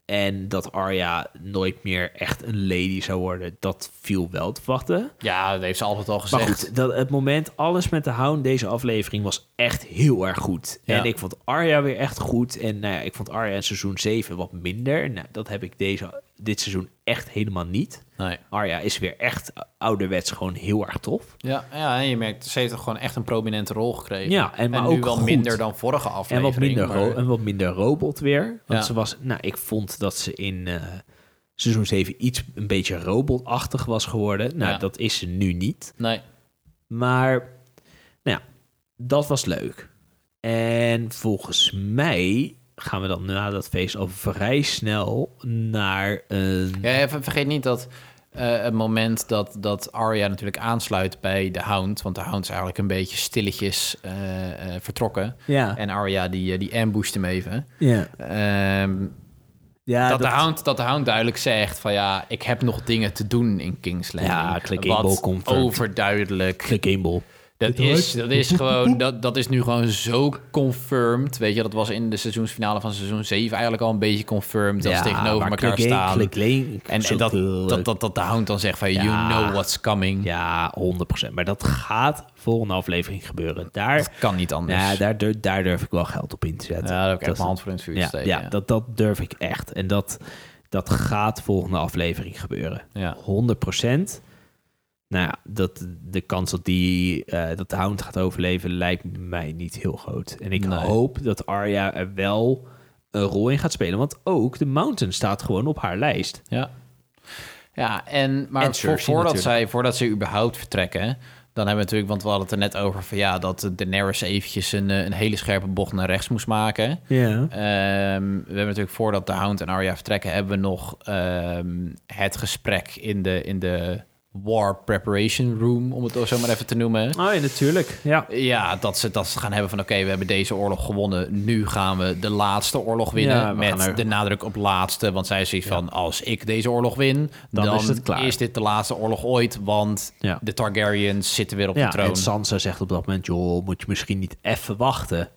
Speaker 3: En dat Arya nooit meer echt een lady zou worden, dat viel wel te wachten.
Speaker 1: ja, dat heeft ze altijd al
Speaker 3: Maar
Speaker 1: gezegd.
Speaker 3: goed, dat, het moment alles met de hound deze aflevering was echt heel erg goed.
Speaker 1: Ja.
Speaker 3: En ik vond Arya weer echt goed. En nou ja, ik vond Arya in seizoen 7 wat minder. Nou, dat heb ik deze, dit seizoen echt helemaal niet.
Speaker 1: Nee.
Speaker 3: Arya is weer echt ouderwets gewoon heel erg tof.
Speaker 1: Ja, ja, en je merkt, ze heeft toch gewoon echt een prominente rol gekregen.
Speaker 3: Ja, en maar
Speaker 1: nu
Speaker 3: ook
Speaker 1: wel
Speaker 3: goed.
Speaker 1: minder dan vorige
Speaker 3: En
Speaker 1: aflevering.
Speaker 3: wat, minder
Speaker 1: maar-
Speaker 3: ro- en wat minder robot weer. Want
Speaker 1: Ja.
Speaker 3: ze was, nou, ik vond dat ze in eh, seizoen 7 iets een beetje robotachtig was geworden. Nou,
Speaker 1: Ja.
Speaker 3: dat is ze nu niet.
Speaker 1: Nee,
Speaker 3: Maar, nou ja, dat was leuk. En volgens mij gaan we dan na dat feest al vrij snel naar een...
Speaker 1: Ja, ja, ver- vergeet niet dat eh, het moment dat, dat Arya natuurlijk aansluit bij de Hound... want de Hound is eigenlijk een beetje stilletjes eh, eh, vertrokken.
Speaker 3: Ja.
Speaker 1: En Arya die, eh, die ambusht hem even.
Speaker 3: Ja,
Speaker 1: Ehm,
Speaker 3: ja
Speaker 1: dat, de hound, dat de hound duidelijk zegt van ja, ik heb nog dingen te doen in King's Landing.
Speaker 3: Ja, Click
Speaker 1: Wat
Speaker 3: Gamble confirmed.
Speaker 1: overduidelijk.
Speaker 3: de Gamble.
Speaker 1: Dat is, dat is gewoon, dat, dat is nu gewoon zo confirmed. Weet je, dat was in de seizoensfinale van seizoen 7 eigenlijk al een beetje confirmed. Dat ze tegenover
Speaker 3: maar
Speaker 1: elkaar
Speaker 3: Click Game-
Speaker 1: staan.
Speaker 3: Click Lane-
Speaker 1: en
Speaker 3: zo
Speaker 1: en dat,
Speaker 3: leuk.
Speaker 1: dat, dat, dat de hound dan zegt van you
Speaker 3: Ja.
Speaker 1: know what's coming.
Speaker 3: Ja, 100%. Maar dat gaat volgende aflevering gebeuren. Daar,
Speaker 1: Dat kan niet anders.
Speaker 3: ja, daar, dur- daar durf ik wel geld op in te zetten.
Speaker 1: Ja, daar heb ik echt
Speaker 3: Dat-
Speaker 1: mijn hand voor in het vuur
Speaker 3: ja,
Speaker 1: te steken.
Speaker 3: Ja, Dat, dat durf ik echt. En dat, dat gaat volgende aflevering gebeuren.
Speaker 1: Ja.
Speaker 3: 100%. Nou ja, dat, de kans dat, die, eh, dat de Hound gaat overleven lijkt mij niet heel groot. En ik
Speaker 1: Nee.
Speaker 3: hoop dat Arya er wel een rol in gaat spelen. Want ook de Mountain staat gewoon op haar lijst.
Speaker 1: Ja. Ja, en maar
Speaker 3: En
Speaker 1: vo-
Speaker 3: Cersei
Speaker 1: voordat,
Speaker 3: natuurlijk.
Speaker 1: zij, voordat zij überhaupt vertrekken, dan hebben we natuurlijk, want we hadden het er net over van ja, dat Daenerys eventjes een, eh, een hele scherpe bocht naar rechts moest maken.
Speaker 3: Ja.
Speaker 1: Ehm, we hebben natuurlijk voordat de Hound en Arya vertrekken, hebben we nog ehm, het gesprek in de, in de War Preparation Room, om het zo maar even te noemen.
Speaker 3: Oh ja, natuurlijk. Ja.
Speaker 1: Ja, dat ze dat ze gaan hebben van oké, we hebben deze oorlog gewonnen. Nu gaan we de laatste oorlog winnen.
Speaker 3: Ja, we
Speaker 1: met
Speaker 3: gaan er-
Speaker 1: de nadruk op laatste. Want zij is zoiets van als ik deze oorlog win, dan,
Speaker 3: is het klaar.
Speaker 1: is dit de laatste oorlog ooit. Want
Speaker 3: Ja.
Speaker 1: de Targaryens zitten weer op
Speaker 3: ja,
Speaker 1: de troon.
Speaker 3: En Sansa zegt op dat moment, joh, moet je misschien niet even wachten.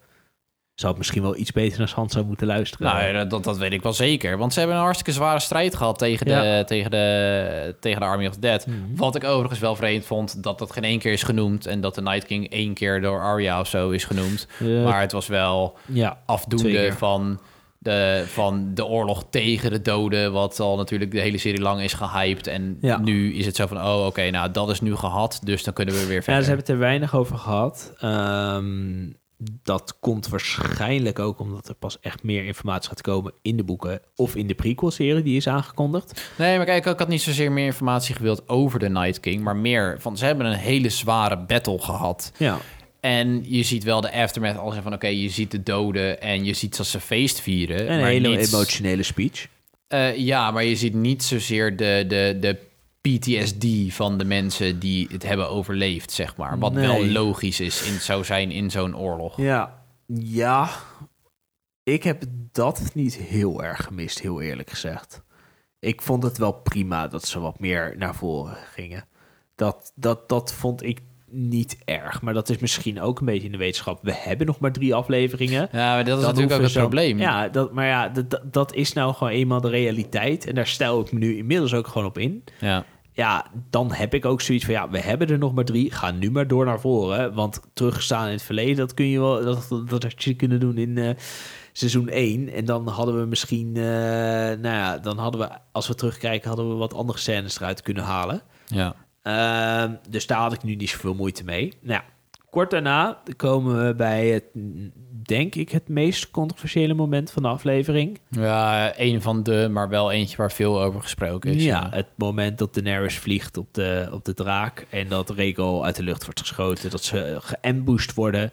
Speaker 3: Zou het misschien wel iets beter naar Sansa moeten luisteren.
Speaker 1: Nou, ja, dat, dat weet ik wel zeker. Want ze hebben een hartstikke zware strijd gehad tegen de,
Speaker 3: Ja. Mhm.
Speaker 1: tegen de, tegen de Army of the Dead. Wat ik overigens wel vreemd vond, dat dat geen één keer is genoemd. En dat de Night King één keer door Arya of zo is genoemd.
Speaker 3: Ja.
Speaker 1: Maar het was wel
Speaker 3: ja,
Speaker 1: afdoende
Speaker 3: Twee keer.
Speaker 1: van De, van de oorlog tegen de doden, wat al natuurlijk de hele serie lang is gehyped. En
Speaker 3: Ja.
Speaker 1: nu is het zo van, oh oké, nou dat is nu gehad, dus dan kunnen we weer verder.
Speaker 3: Ja, ze hebben het er weinig over gehad. Ehm, dat komt waarschijnlijk ook omdat er pas echt meer informatie gaat komen in de boeken of in de prequel-serie die is aangekondigd.
Speaker 1: Nee, maar kijk, ik had niet zozeer meer informatie gewild over de Night King, maar meer van, ze hebben een hele zware battle gehad.
Speaker 3: Ja.
Speaker 1: En je ziet wel de aftermath als in van, oké, je ziet de doden en je ziet dat ze feest vieren.
Speaker 3: En een
Speaker 1: maar
Speaker 3: hele
Speaker 1: niet-
Speaker 3: emotionele speech.
Speaker 1: Eh, ja, maar je ziet niet zozeer de, de, de PTSD van de mensen die het hebben overleefd, zeg maar. Wat wel
Speaker 3: Nee.
Speaker 1: logisch is in, zou zijn in zo'n oorlog.
Speaker 3: Ja. Ja. Ik heb dat niet heel erg gemist, heel eerlijk gezegd. Ik vond het wel prima dat ze wat meer naar voren gingen. Dat, dat, dat vond ik niet erg. Maar dat is misschien ook een beetje in de wetenschap. We hebben nog maar drie afleveringen.
Speaker 1: Ja, maar dat is
Speaker 3: Dan
Speaker 1: natuurlijk ook het
Speaker 3: hoeven ze-
Speaker 1: probleem.
Speaker 3: Ja, dat, maar ja, dat, dat- dat is nou gewoon eenmaal de realiteit. En daar stel ik me nu inmiddels ook gewoon op in.
Speaker 1: Ja.
Speaker 3: Ja, dan heb ik ook zoiets van, ja, we hebben er nog maar drie. Ga nu maar door naar voren. Want terugstaan in het verleden, dat kun je wel, dat, dat, dat had je kunnen doen in eh, seizoen 1. En dan hadden we misschien, eh, nou ja, dan hadden we, als we terugkijken, hadden we wat andere scènes eruit kunnen halen.
Speaker 1: Ja.
Speaker 3: Ehm, dus daar had ik nu niet zoveel moeite mee. Nou, ja, kort daarna komen we bij het, denk ik, het meest controversiële moment van de aflevering.
Speaker 1: ja, een van de, maar wel eentje waar veel over gesproken is. eh.
Speaker 3: ja, het moment dat Daenerys vliegt op de, op de draak en dat Rhaegal uit de lucht wordt geschoten. Dat ze geambushed worden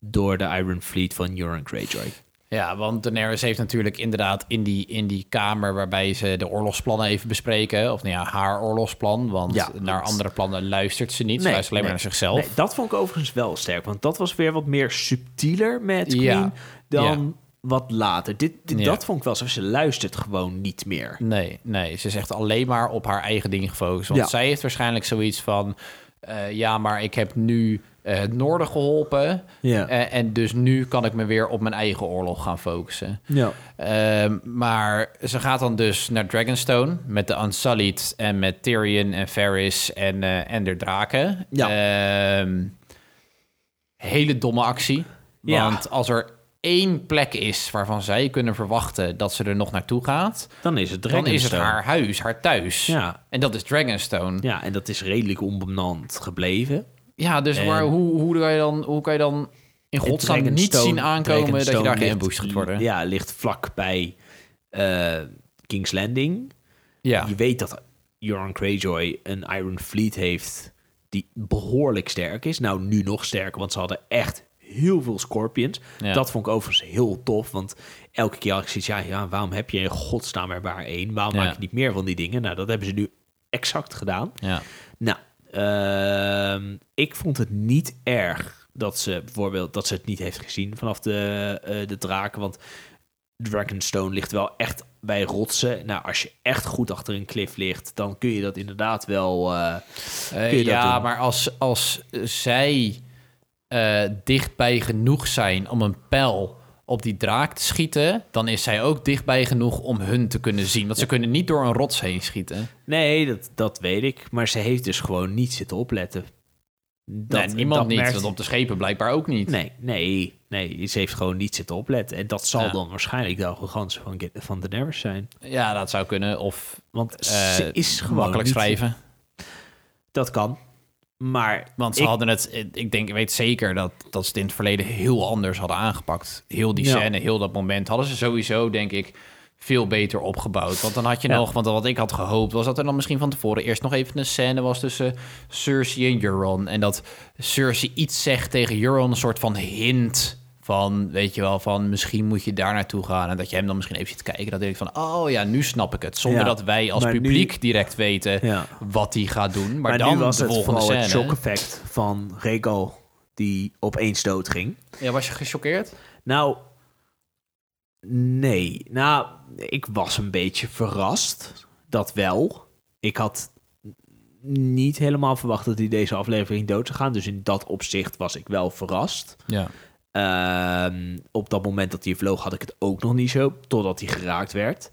Speaker 3: door de Iron Fleet van Euron Greyjoy.
Speaker 1: Ja, want Daenerys heeft natuurlijk inderdaad in die, in die kamer waarbij ze de oorlogsplannen even bespreken. Of nou ja, haar oorlogsplan. Want
Speaker 3: Ja,
Speaker 1: naar
Speaker 3: want-
Speaker 1: andere plannen luistert ze niet. ze luistert alleen maar naar zichzelf.
Speaker 3: Nee, dat vond ik overigens wel sterk, want dat was weer wat meer subtieler met Queen
Speaker 1: Ja,
Speaker 3: dan wat later. Dit, dit-
Speaker 1: Ja.
Speaker 3: Dat vond ik wel zo, ze luistert gewoon niet meer.
Speaker 1: Nee, nee, ze is echt alleen maar op haar eigen ding gefocust. Want
Speaker 3: Ja.
Speaker 1: zij heeft waarschijnlijk zoiets van... eh, ja, maar ik heb nu eh, het noorden geholpen.
Speaker 3: Ja.
Speaker 1: Eh, en dus nu kan ik me weer op mijn eigen oorlog gaan focussen.
Speaker 3: Ja.
Speaker 1: Ehm, maar ze gaat dan dus naar Dragonstone met de Unsullied en met Tyrion en Varys en, eh, en de draken.
Speaker 3: Ja.
Speaker 1: Ehm, hele domme actie.
Speaker 3: Ja.
Speaker 1: Want als er één plek is waarvan zij kunnen verwachten dat ze er nog naartoe gaat...
Speaker 3: Dan is het
Speaker 1: Dan is het
Speaker 3: Dragonstone.
Speaker 1: haar huis, haar thuis.
Speaker 3: Ja.
Speaker 1: En dat is Dragonstone. Ja,
Speaker 3: Ja, en dat is redelijk onbenant gebleven.
Speaker 1: dus maar hoe, hoe, kan je dan, hoe kan je dan in godsnaam niet
Speaker 3: Dragonstone-
Speaker 1: zien aankomen dat je
Speaker 3: Dragonstone
Speaker 1: daar
Speaker 3: ligt-
Speaker 1: geambushed gaat worden? Ja.
Speaker 3: Ja, ligt vlak bij eh, King's Landing. Je weet dat Euron Greyjoy een Iron Fleet heeft die behoorlijk sterk is. Nou, nu nog sterker, want ze hadden echt heel veel Scorpions.
Speaker 1: Ja.
Speaker 3: Dat vond ik overigens heel tof, want elke keer had ik zoiets... Ja, ja waarom heb je in godsnaam er maar één? Waarom
Speaker 1: Ja.
Speaker 3: maak je niet meer van die dingen? Nou, dat hebben ze nu exact gedaan.
Speaker 1: Ja.
Speaker 3: Nou, ehm, ik vond het niet erg dat ze bijvoorbeeld dat ze het niet heeft gezien vanaf de, eh, de draken. Want Dragonstone ligt wel echt bij rotsen. Nou, als je echt goed achter een klif ligt, dan kun je dat inderdaad wel. eh,
Speaker 1: Eh,
Speaker 3: kun je dat
Speaker 1: ja,
Speaker 3: doen.
Speaker 1: maar als, als zij eh, dichtbij genoeg zijn om een pijl op die draak te schieten, dan is zij ook dichtbij genoeg om hun te kunnen zien. Want ze kunnen niet door een rots heen schieten.
Speaker 3: Nee, dat, dat weet ik. Maar ze heeft dus gewoon niet zitten opletten. Dat,
Speaker 1: nee, niemand
Speaker 3: dat
Speaker 1: niet,
Speaker 3: merkt-
Speaker 1: want op de schepen blijkbaar ook niet.
Speaker 3: Nee, nee, nee. Ze heeft gewoon niet zitten opletten. En dat zal
Speaker 1: Ja.
Speaker 3: dan waarschijnlijk de arrogantie van, van Daenerys zijn.
Speaker 1: Ja, dat zou kunnen. Of
Speaker 3: Want
Speaker 1: eh,
Speaker 3: ze is gewoon
Speaker 1: makkelijk
Speaker 3: niet-
Speaker 1: schrijven.
Speaker 3: Dat kan. Maar
Speaker 1: Want ze
Speaker 3: ik-
Speaker 1: hadden het, ik denk, ik weet zeker dat, dat ze het in het verleden heel anders hadden aangepakt. Heel die
Speaker 3: Ja.
Speaker 1: scène, heel dat moment hadden ze sowieso, denk ik, veel beter opgebouwd. Want dan had je
Speaker 3: Ja.
Speaker 1: nog, want wat ik had gehoopt was dat er dan misschien van tevoren eerst nog even een scène was tussen Cersei en Euron. En dat Cersei iets zegt tegen Euron, een soort van hint van, weet je wel, van misschien moet je daar naartoe gaan. En dat je hem dan misschien even ziet kijken. Dat denk ik van, oh ja, nu snap ik het. Zonder
Speaker 3: Ja.
Speaker 1: dat wij als
Speaker 3: Maar nu-
Speaker 1: publiek direct weten
Speaker 3: Ja.
Speaker 1: wat hij gaat doen. Maar,
Speaker 3: maar
Speaker 1: dan
Speaker 3: nu was
Speaker 1: de
Speaker 3: het
Speaker 1: volgende
Speaker 3: vooral het
Speaker 1: scène.
Speaker 3: shock effect van Regal die opeens dood ging.
Speaker 1: Ja, was je gechoqueerd?
Speaker 3: Nou, nee. Nou, ik was een beetje verrast. Dat wel. Ik had niet helemaal verwacht dat hij deze aflevering dood zou gaan. Dus in dat opzicht was ik wel verrast.
Speaker 1: Ja.
Speaker 3: Ehm, op dat moment dat hij vloog had ik het ook nog niet zo, totdat hij geraakt werd.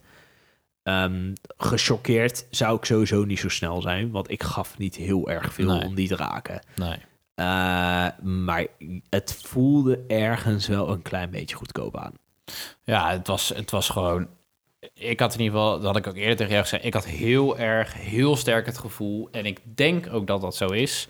Speaker 3: Ehm gechoqueerd zou ik sowieso niet zo snel zijn, want ik gaf niet heel erg veel
Speaker 1: Nee.
Speaker 3: om die te raken. Ehm,
Speaker 1: Nee.
Speaker 3: Eh, maar het voelde ergens wel een klein beetje goedkoop aan.
Speaker 1: Ja, het was, het was gewoon. Ik had in ieder geval, dat had ik ook eerder tegen jou gezegd, ik had heel erg, heel sterk het gevoel, en ik denk ook dat dat zo is,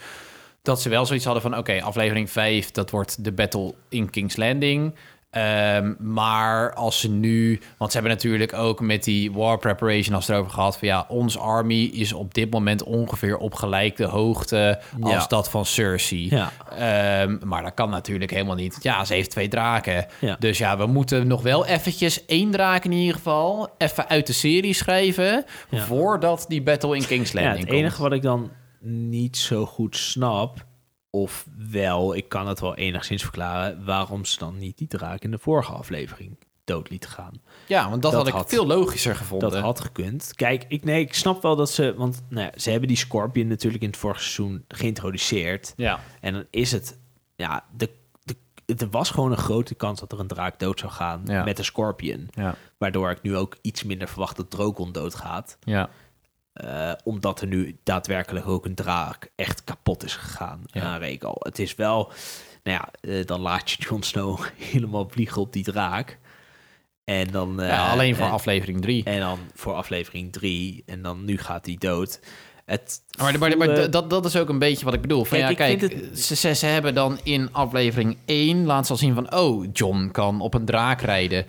Speaker 1: dat ze wel zoiets hadden van, oké, aflevering 5, dat wordt de battle in King's Landing. Ehm, maar als ze nu, want ze hebben natuurlijk ook met die war preparation als het erover gehad van ja, ons army is op dit moment ongeveer op gelijke hoogte als
Speaker 3: Ja.
Speaker 1: dat van Cersei.
Speaker 3: Ja.
Speaker 1: Ehm, maar dat kan natuurlijk helemaal niet. Ja, ze heeft twee draken.
Speaker 3: Ja.
Speaker 1: Dus ja, we moeten nog wel eventjes één draak in ieder geval even uit de serie schrijven
Speaker 3: Ja.
Speaker 1: voordat die battle in King's
Speaker 3: Ja,
Speaker 1: Landing
Speaker 3: het
Speaker 1: komt.
Speaker 3: enige wat ik dan niet zo goed snap, of wel, ik kan het wel enigszins verklaren, waarom ze dan niet die draak in de vorige aflevering dood liet gaan.
Speaker 1: ja, want dat,
Speaker 3: dat
Speaker 1: had ik
Speaker 3: had-
Speaker 1: veel logischer gevonden.
Speaker 3: Dat had gekund. Kijk, ik, nee, ik snap wel dat ze, want nou ja, ze hebben die Scorpion natuurlijk in het vorige seizoen geïntroduceerd.
Speaker 1: Ja.
Speaker 3: En dan is het, ja, de, de, er was gewoon een grote kans dat er een draak dood zou gaan
Speaker 1: Ja.
Speaker 3: met een Scorpion.
Speaker 1: Ja.
Speaker 3: Waardoor ik nu ook iets minder verwacht dat Drogon doodgaat.
Speaker 1: Ja.
Speaker 3: Eh, omdat er nu daadwerkelijk ook een draak echt kapot is gegaan
Speaker 1: Ja.
Speaker 3: aan Rhaegal. Het is wel, nou ja, eh, dan laat je Jon Snow <laughs> helemaal vliegen op die draak. En dan, eh,
Speaker 1: Ja, alleen voor
Speaker 3: en,
Speaker 1: aflevering 3.
Speaker 3: en dan voor aflevering 3. En dan nu gaat hij dood. Het
Speaker 1: Maar, maar, maar
Speaker 3: voelde-
Speaker 1: d- dat, dat is ook een beetje wat ik bedoel. Van,
Speaker 3: Kijk,
Speaker 1: ja,
Speaker 3: ik
Speaker 1: kijk,
Speaker 3: vind het-
Speaker 1: ze, ze, ze hebben dan in aflevering 1 laten ze al zien van... oh, John kan op een draak rijden.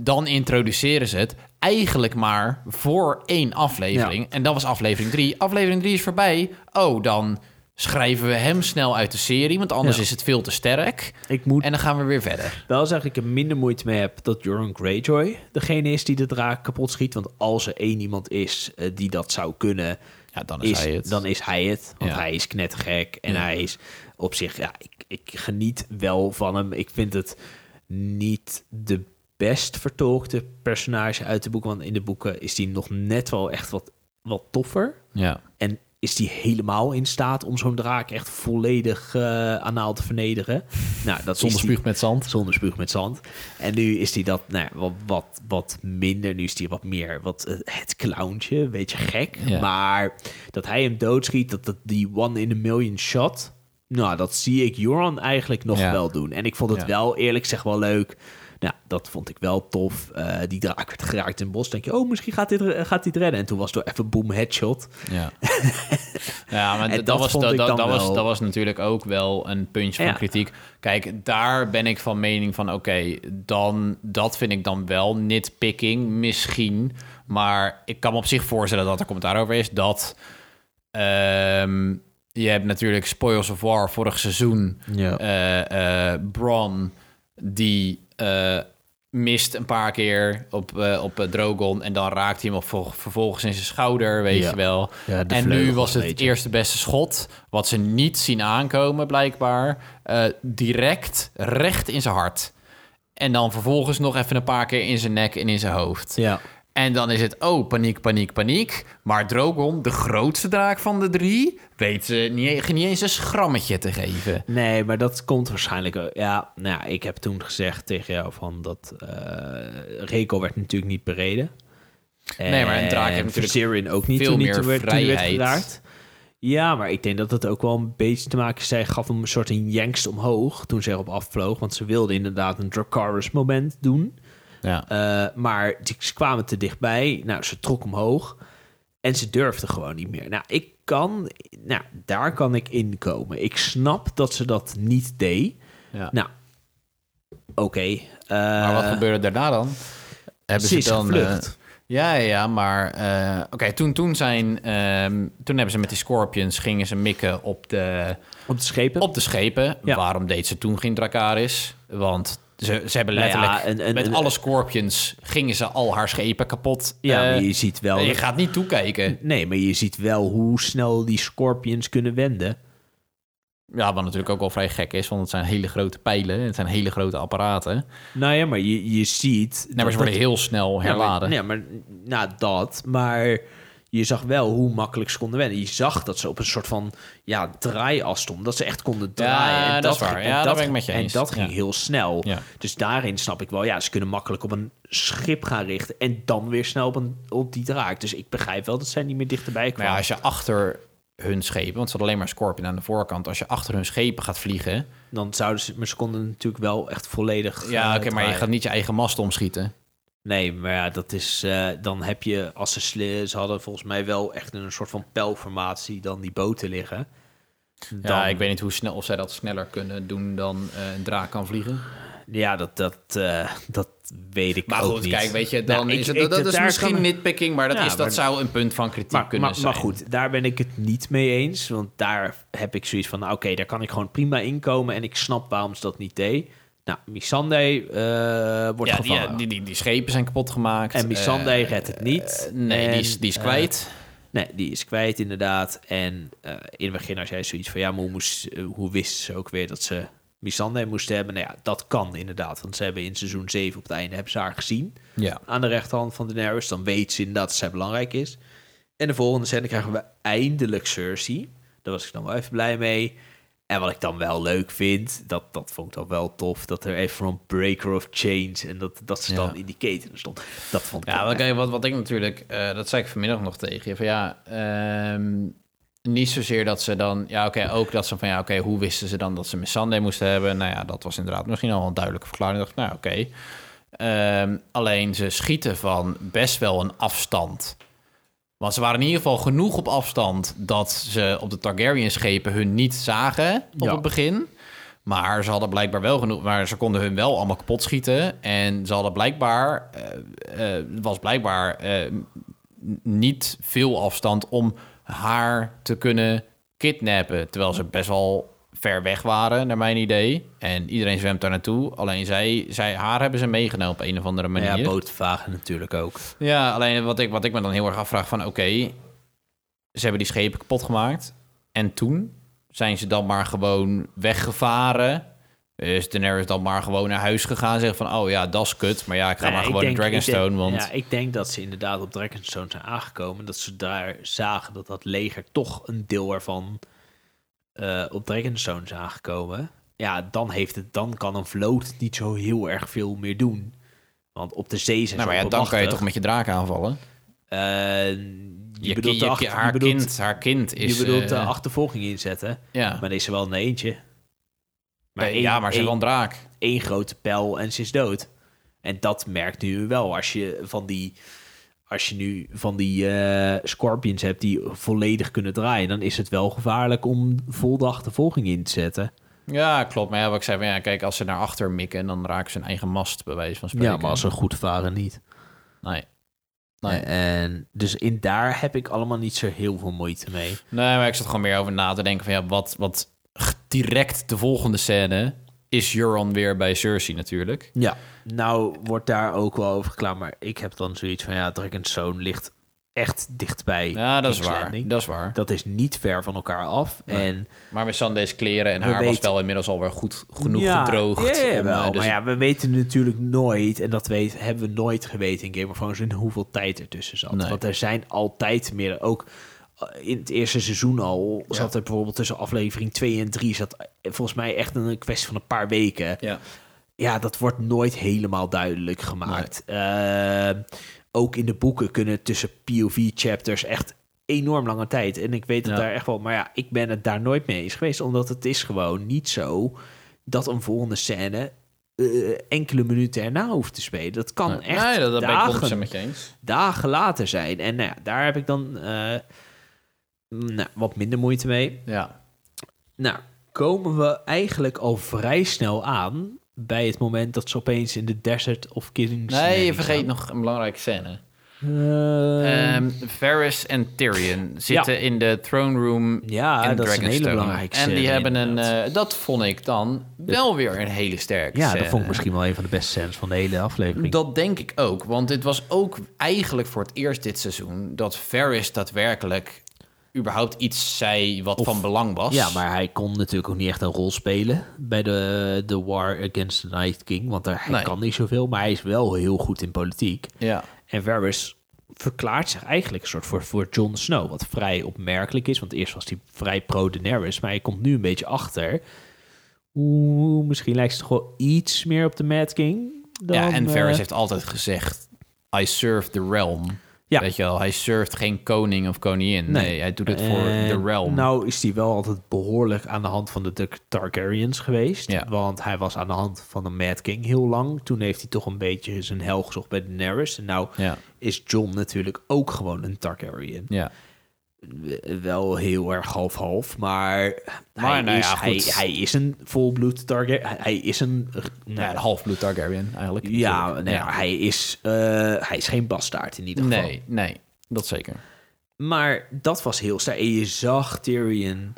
Speaker 1: Dan introduceren ze het eigenlijk maar voor één aflevering. En dat was aflevering 3. Aflevering 3 is voorbij. Oh, dan schrijven we hem snel uit de serie... want anders
Speaker 3: Ja.
Speaker 1: is het veel te sterk.
Speaker 3: Ik moet-
Speaker 1: En dan gaan we weer verder.
Speaker 3: wel zeg ik er minder moeite mee heb dat Joran Greyjoy degene is die de draak kapot schiet. Want als er één iemand is eh, die dat zou kunnen,
Speaker 1: Ja, dan is, hij het.
Speaker 3: Dan is hij het. Want
Speaker 1: Ja.
Speaker 3: hij is knettergek. En hij is op zich, ja, ik, ik geniet wel van hem. Ik vind het niet de best vertolkte personage uit de boeken. Want in de boeken is die nog net wel echt wat, wat toffer.
Speaker 1: Ja.
Speaker 3: En is die helemaal in staat om zo'n draak echt volledig eh anaal te
Speaker 1: <laughs>
Speaker 3: vernederen? Nou, dat
Speaker 1: Zonder
Speaker 3: is die-
Speaker 1: spuug met zand.
Speaker 3: zonder spuug met zand. En nu is die dat nou, ja, wat, wat, wat minder. Nu is die wat meer wat, eh, het clowntje. Een beetje gek.
Speaker 1: Ja.
Speaker 3: Maar dat hij hem doodschiet, dat, dat die one in a million shot. Nou, dat zie ik Joran eigenlijk nog
Speaker 1: Ja.
Speaker 3: wel doen. En ik vond het
Speaker 1: Ja.
Speaker 3: wel eerlijk zeg wel leuk. Nou, dat vond ik wel tof. Eh, die draak werd geraakt in het bos. Denk je, oh, misschien gaat dit, eh, gaat dit redden. En toen was het door even boom headshot.
Speaker 1: Ja,
Speaker 3: <laughs>
Speaker 1: ja maar
Speaker 3: En
Speaker 1: dat,
Speaker 3: dat
Speaker 1: was,
Speaker 3: vond
Speaker 1: dat,
Speaker 3: ik
Speaker 1: dat,
Speaker 3: dan
Speaker 1: dat was,
Speaker 3: wel-
Speaker 1: dat was natuurlijk ook wel een puntje van
Speaker 3: Ja.
Speaker 1: kritiek. Kijk, daar ben ik van mening van... oké, dan dat vind ik dan wel nitpicking, misschien. Maar ik kan me op zich voorstellen dat er commentaar over is... dat ehm, je hebt natuurlijk Spoils of War vorig seizoen...
Speaker 3: Ja.
Speaker 1: eh, eh, Bron die... eh, mist een paar keer op, eh, op eh, Drogon... en dan raakt hij hem op, vol- vervolgens in zijn schouder, weet
Speaker 3: Ja.
Speaker 1: je wel
Speaker 3: Ja, de
Speaker 1: en nu
Speaker 3: vleugels
Speaker 1: was het
Speaker 3: een
Speaker 1: het
Speaker 3: beetje.
Speaker 1: eerste beste schot, wat ze niet zien aankomen blijkbaar, eh, direct recht in zijn hart. En dan vervolgens nog even een paar keer in zijn nek en in zijn hoofd.
Speaker 3: Ja.
Speaker 1: En dan is het, oh, paniek, paniek, paniek. Maar Drogon, de grootste draak van de drie, weet ze niet, niet eens een schrammetje te geven.
Speaker 3: Nee, maar dat komt waarschijnlijk. ook- Ja, nou ja, ik heb toen gezegd tegen jou van dat eh Rekel werd natuurlijk niet bereden.
Speaker 1: Nee, maar een draak heeft
Speaker 3: En
Speaker 1: natuurlijk
Speaker 3: Viserion ook niet
Speaker 1: veel
Speaker 3: toen,
Speaker 1: meer
Speaker 3: niet, toen, werd, toen die werd
Speaker 1: vrijheid.
Speaker 3: geraakt. Ja, maar ik denk dat het ook wel een beetje te maken is. Zij gaf hem een soort een jengst omhoog toen ze erop afvloog. Want ze wilde inderdaad een Dracarys moment doen.
Speaker 1: Ja.
Speaker 3: Eh, maar die- ze kwamen te dichtbij. Nou, ze trok omhoog. En ze durfde gewoon niet meer. Nou, ik kan... Nou, daar kan ik in komen. Ik snap dat ze dat niet deed.
Speaker 1: Ja.
Speaker 3: Nou, oké.
Speaker 1: Maar wat
Speaker 3: eh,
Speaker 1: gebeurde daarna dan? Hebben
Speaker 3: ze
Speaker 1: ze
Speaker 3: is
Speaker 1: dan
Speaker 3: gevlucht.
Speaker 1: eh, ja, ja, ja, maar eh, oké, toen, toen zijn, ehm, toen hebben ze met die Scorpions gingen ze mikken op de,
Speaker 3: op de schepen?
Speaker 1: op de schepen.
Speaker 3: Ja.
Speaker 1: Waarom deed ze toen geen Dracaris? Want ze, ze hebben
Speaker 3: Nou ja,
Speaker 1: letterlijk
Speaker 3: een- een-
Speaker 1: met
Speaker 3: een-
Speaker 1: alle Scorpions gingen ze al haar schepen kapot.
Speaker 3: ja,
Speaker 1: Eh,
Speaker 3: maar je ziet wel...
Speaker 1: je gaat niet toekijken.
Speaker 3: Nee, maar je ziet wel hoe snel die scorpions kunnen wenden.
Speaker 1: Ja, wat natuurlijk ook wel vrij gek is, want het zijn hele grote pijlen, het zijn hele grote apparaten. Nee,
Speaker 3: Nou ja, maar je, je ziet...
Speaker 1: maar ze worden heel snel herladen.
Speaker 3: Ja, maar, ja, maar nou, dat. Maar je zag wel hoe makkelijk ze konden wennen. Je zag dat ze op een soort van ja, draaias stonden. Dat ze echt konden draaien.
Speaker 1: dat is waar.
Speaker 3: ging-
Speaker 1: Ja, daar ben ik
Speaker 3: ging-
Speaker 1: met je eens.
Speaker 3: En dat ging
Speaker 1: Ja.
Speaker 3: heel snel.
Speaker 1: Ja.
Speaker 3: Dus daarin snap ik wel. Ja, ze kunnen makkelijk op een schip gaan richten. En dan weer snel op, een, op die draak. Dus ik begrijp wel dat zij niet meer dichterbij
Speaker 1: Maar ja,
Speaker 3: kwamen.
Speaker 1: als je achter hun schepen, want ze hadden alleen maar Scorpion aan de voorkant. Als je achter hun schepen gaat vliegen,
Speaker 3: Dan zouden ze, maar ze konden natuurlijk wel echt volledig...
Speaker 1: ja,
Speaker 3: eh,
Speaker 1: oké, maar je
Speaker 3: draaien.
Speaker 1: gaat niet je eigen mast omschieten.
Speaker 3: Nee, maar ja, dat is, eh, dan heb je, als ze, sli- ze hadden volgens mij wel echt een soort van pijlformatie dan die boten liggen. Dan,
Speaker 1: Ja, ik weet niet hoe snel of zij dat sneller kunnen doen dan eh, een draak kan vliegen.
Speaker 3: ja, dat, dat, eh, dat weet ik
Speaker 1: Maar
Speaker 3: ook
Speaker 1: goed,
Speaker 3: niet.
Speaker 1: kijk, weet je, dan
Speaker 3: Nou, ik-
Speaker 1: is het,
Speaker 3: ik-
Speaker 1: dat is
Speaker 3: daar
Speaker 1: misschien
Speaker 3: kan-
Speaker 1: nitpicking, maar dat,
Speaker 3: Ja,
Speaker 1: is, dat
Speaker 3: maar-
Speaker 1: zou een punt van kritiek
Speaker 3: maar,
Speaker 1: kunnen
Speaker 3: maar,
Speaker 1: zijn.
Speaker 3: maar goed, daar ben ik het niet mee eens. Want daar heb ik zoiets van, nou, oké, daar kan ik gewoon prima inkomen. En ik snap waarom ze dat niet deed. Nou, Missande eh, wordt
Speaker 1: Ja, die,
Speaker 3: gevangen.
Speaker 1: ja, die, die, die schepen zijn kapot gemaakt.
Speaker 3: en Missande
Speaker 1: Eh,
Speaker 3: redt het niet.
Speaker 1: nee,
Speaker 3: En,
Speaker 1: die, is, die is
Speaker 3: eh,
Speaker 1: kwijt.
Speaker 3: Nee, die is kwijt inderdaad. En eh, in het begin als jij zoiets van... ja, maar hoe, moest, eh, hoe wist ze ook weer dat ze Missandei moesten hebben? Nou ja, dat kan inderdaad. Want ze hebben in seizoen 7 op het einde hebben ze haar gezien...
Speaker 1: ja.
Speaker 3: aan de rechterhand van Daenerys. Dan weet ze inderdaad dat zij belangrijk is. En de volgende scène krijgen we eindelijk Cersei. Daar was ik dan wel even blij mee. En wat ik dan wel leuk vind, dat, dat vond ik dan wel tof... dat er even een breaker of chains... en dat, dat ze
Speaker 1: Ja.
Speaker 3: dan in die ketenen stond. Dat vond ik
Speaker 1: Ja,
Speaker 3: wel
Speaker 1: wat, wat, wat ik natuurlijk, eh, dat zei ik vanmiddag nog tegen je, van ja, ehm, niet zozeer dat ze dan, ja oké, ook dat ze van ja oké, hoe wisten ze dan dat ze Missandei moesten hebben? Nou ja, dat was inderdaad misschien al een duidelijke verklaring. Ik dacht, nou oké. Ehm, alleen ze schieten van best wel een afstand. Want ze waren in ieder geval genoeg op afstand dat ze op de Targaryen-schepen hun niet zagen op
Speaker 3: Ja.
Speaker 1: het begin. Maar ze hadden blijkbaar wel genoeg, maar ze konden hun wel allemaal kapot schieten. En ze hadden blijkbaar, eh, eh, was blijkbaar eh, n- niet veel afstand om haar te kunnen kidnappen. Terwijl ze best wel ver weg waren, naar mijn idee. En iedereen zwemt daar naartoe. Alleen zij, zij, haar hebben ze meegenomen op een of andere manier.
Speaker 3: Nou Ja, bootvagen natuurlijk ook.
Speaker 1: Ja, alleen wat ik, wat ik me dan heel erg afvraag van... oké, ze hebben die schepen kapot gemaakt. En toen zijn ze dan maar gewoon weggevaren. Is Daenerys dan maar gewoon naar huis gegaan? Zeggen van, oh ja, dat is kut. Maar ja, ik ga maar gewoon naar Dragonstone, want...
Speaker 3: Ja, ik denk dat ze inderdaad op Dragonstone zijn aangekomen. Dat ze daar zagen dat dat leger toch een deel ervan eh, op Dragonstone is aangekomen. Ja, dan, heeft het, dan kan een vloot niet zo heel erg veel meer doen. Want op de zee zijn
Speaker 1: nou, maar
Speaker 3: ze
Speaker 1: ja, dan kan je toch
Speaker 3: oppermachtig.
Speaker 1: met je draak aanvallen?
Speaker 3: Eh,
Speaker 1: Je,
Speaker 3: je bedoelt,
Speaker 1: ki-
Speaker 3: de
Speaker 1: je,
Speaker 3: achter-
Speaker 1: ki- haar,
Speaker 3: je bedoelt,
Speaker 1: kind, haar kind is...
Speaker 3: je bedoelt de
Speaker 1: eh,
Speaker 3: achtervolging inzetten.
Speaker 1: ja.
Speaker 3: Maar er is er wel een eentje.
Speaker 1: Nee,
Speaker 3: één-
Speaker 1: ja, maar ze
Speaker 3: één-
Speaker 1: is wel een draak.
Speaker 3: één grote pijl en ze is dood. En dat merkt nu wel. Als je van die, als je nu van die eh, scorpions hebt die volledig kunnen draaien, dan is het wel gevaarlijk om vol de achtervolging in te zetten.
Speaker 1: Ja, klopt. Maar ja, wat ik zei, van, ja, kijk, als ze naar achter mikken... dan raken ze hun eigen mast, bij wijze van spreken.
Speaker 3: Ja, maar als ze goed varen niet.
Speaker 1: Nee. Nee.
Speaker 3: En dus in daar heb ik allemaal niet zo heel veel moeite mee.
Speaker 1: Nee, maar ik zat gewoon meer over na te denken van ja, wat, wat g- direct de volgende scène is Euron weer bij Cersei natuurlijk.
Speaker 3: Ja. Nou wordt daar ook wel over geklaagd, maar ik heb dan zoiets van ja, Dragonstone ligt echt dichtbij.
Speaker 1: Ja, dat is
Speaker 3: King's
Speaker 1: waar.
Speaker 3: Landing.
Speaker 1: Dat is waar.
Speaker 3: Dat is niet ver van elkaar af. En
Speaker 1: Maar met Sande's kleren en
Speaker 3: We
Speaker 1: haar was
Speaker 3: weten-
Speaker 1: wel inmiddels alweer goed genoeg
Speaker 3: Ja,
Speaker 1: gedroogd.
Speaker 3: ja, ja,
Speaker 1: om,
Speaker 3: wel.
Speaker 1: eh, dus-
Speaker 3: Maar ja, we weten natuurlijk nooit, en dat weet, hebben we nooit geweten in Game of Thrones, in hoeveel tijd ertussen zat.
Speaker 1: Nee.
Speaker 3: Want er zijn altijd meer, ook eh, in het eerste seizoen al, zat er bijvoorbeeld tussen aflevering 2 en 3, zat eh, volgens mij echt een kwestie van een paar weken.
Speaker 1: ja.
Speaker 3: Ja, dat wordt nooit helemaal duidelijk gemaakt. Eh, ook in de boeken kunnen tussen POV-chapters echt enorm lange tijd. En ik weet dat
Speaker 1: Ja.
Speaker 3: daar echt wel... Maar ja, ik ben het daar nooit mee eens geweest. Omdat het is gewoon niet zo dat een volgende scène... eh, enkele minuten erna hoeft te spelen. Dat kan echt
Speaker 1: nee, dat, dat ben ik
Speaker 3: dagen,
Speaker 1: 100% met je eens.
Speaker 3: dagen later zijn. En nou ja, daar heb ik dan eh, nou, wat minder moeite mee.
Speaker 1: Ja.
Speaker 3: Nou, komen we eigenlijk al vrij snel aan bij het moment dat ze opeens in de Desert of Kings
Speaker 1: Nee, je vergeet nog een belangrijke scène.
Speaker 3: Eh,
Speaker 1: Ehm Varys en Tyrion zitten in de throne room
Speaker 3: Ja,
Speaker 1: in
Speaker 3: dat is een hele
Speaker 1: Dragonstone.
Speaker 3: belangrijke
Speaker 1: En die
Speaker 3: scène,
Speaker 1: hebben een...
Speaker 3: inderdaad.
Speaker 1: eh, dat vond ik dan wel weer een hele sterke
Speaker 3: ja,
Speaker 1: scène.
Speaker 3: dat vond ik misschien wel een van de beste scènes van de hele aflevering.
Speaker 1: Dat denk ik ook, want dit was ook eigenlijk voor het eerst dit seizoen dat Ferris daadwerkelijk überhaupt iets zei wat van belang was.
Speaker 3: Ja, maar hij kon natuurlijk ook niet echt een rol spelen bij de, de War Against the Night King. Want daar, hij
Speaker 1: Nee.
Speaker 3: kan niet zoveel, maar hij is wel heel goed in politiek.
Speaker 1: Ja.
Speaker 3: En Varys verklaart zich eigenlijk een soort voor, voor Jon Snow. Wat vrij opmerkelijk is, want eerst was hij vrij pro-Daenerys. Maar hij komt nu een beetje achter. Oeh, misschien lijkt ze toch wel iets meer op de Mad King. Dan,
Speaker 1: ja en
Speaker 3: eh,
Speaker 1: Ferris heeft altijd gezegd: I serve the realm.
Speaker 3: Ja.
Speaker 1: Weet je wel, hij surft geen koning of koningin. Nee, hij doet het voor
Speaker 3: En
Speaker 1: de realm.
Speaker 3: Nou is hij wel altijd behoorlijk aan de hand van de Tar- Targaryens geweest.
Speaker 1: Ja.
Speaker 3: Want hij was aan de hand van de Mad King heel lang. Toen heeft hij toch een beetje zijn hel gezocht bij Daenerys. En nou
Speaker 1: Ja.
Speaker 3: is John natuurlijk ook gewoon een Targaryen.
Speaker 1: ja.
Speaker 3: Eh, Wel heel erg half-half, maar, hij,
Speaker 1: Maar nou
Speaker 3: is,
Speaker 1: ja,
Speaker 3: hij,
Speaker 1: goed.
Speaker 3: hij is een volbloed Targaryen. Hij- Hij is een...
Speaker 1: Nou,
Speaker 3: nou,
Speaker 1: ja, de halfbloed Targaryen eigenlijk.
Speaker 3: ja,
Speaker 1: natuurlijk.
Speaker 3: nou ja, hij is, eh, hij is geen bastaard in ieder geval.
Speaker 1: Nee, nee, dat zeker.
Speaker 3: Maar dat was heel sterk. En je zag Tyrion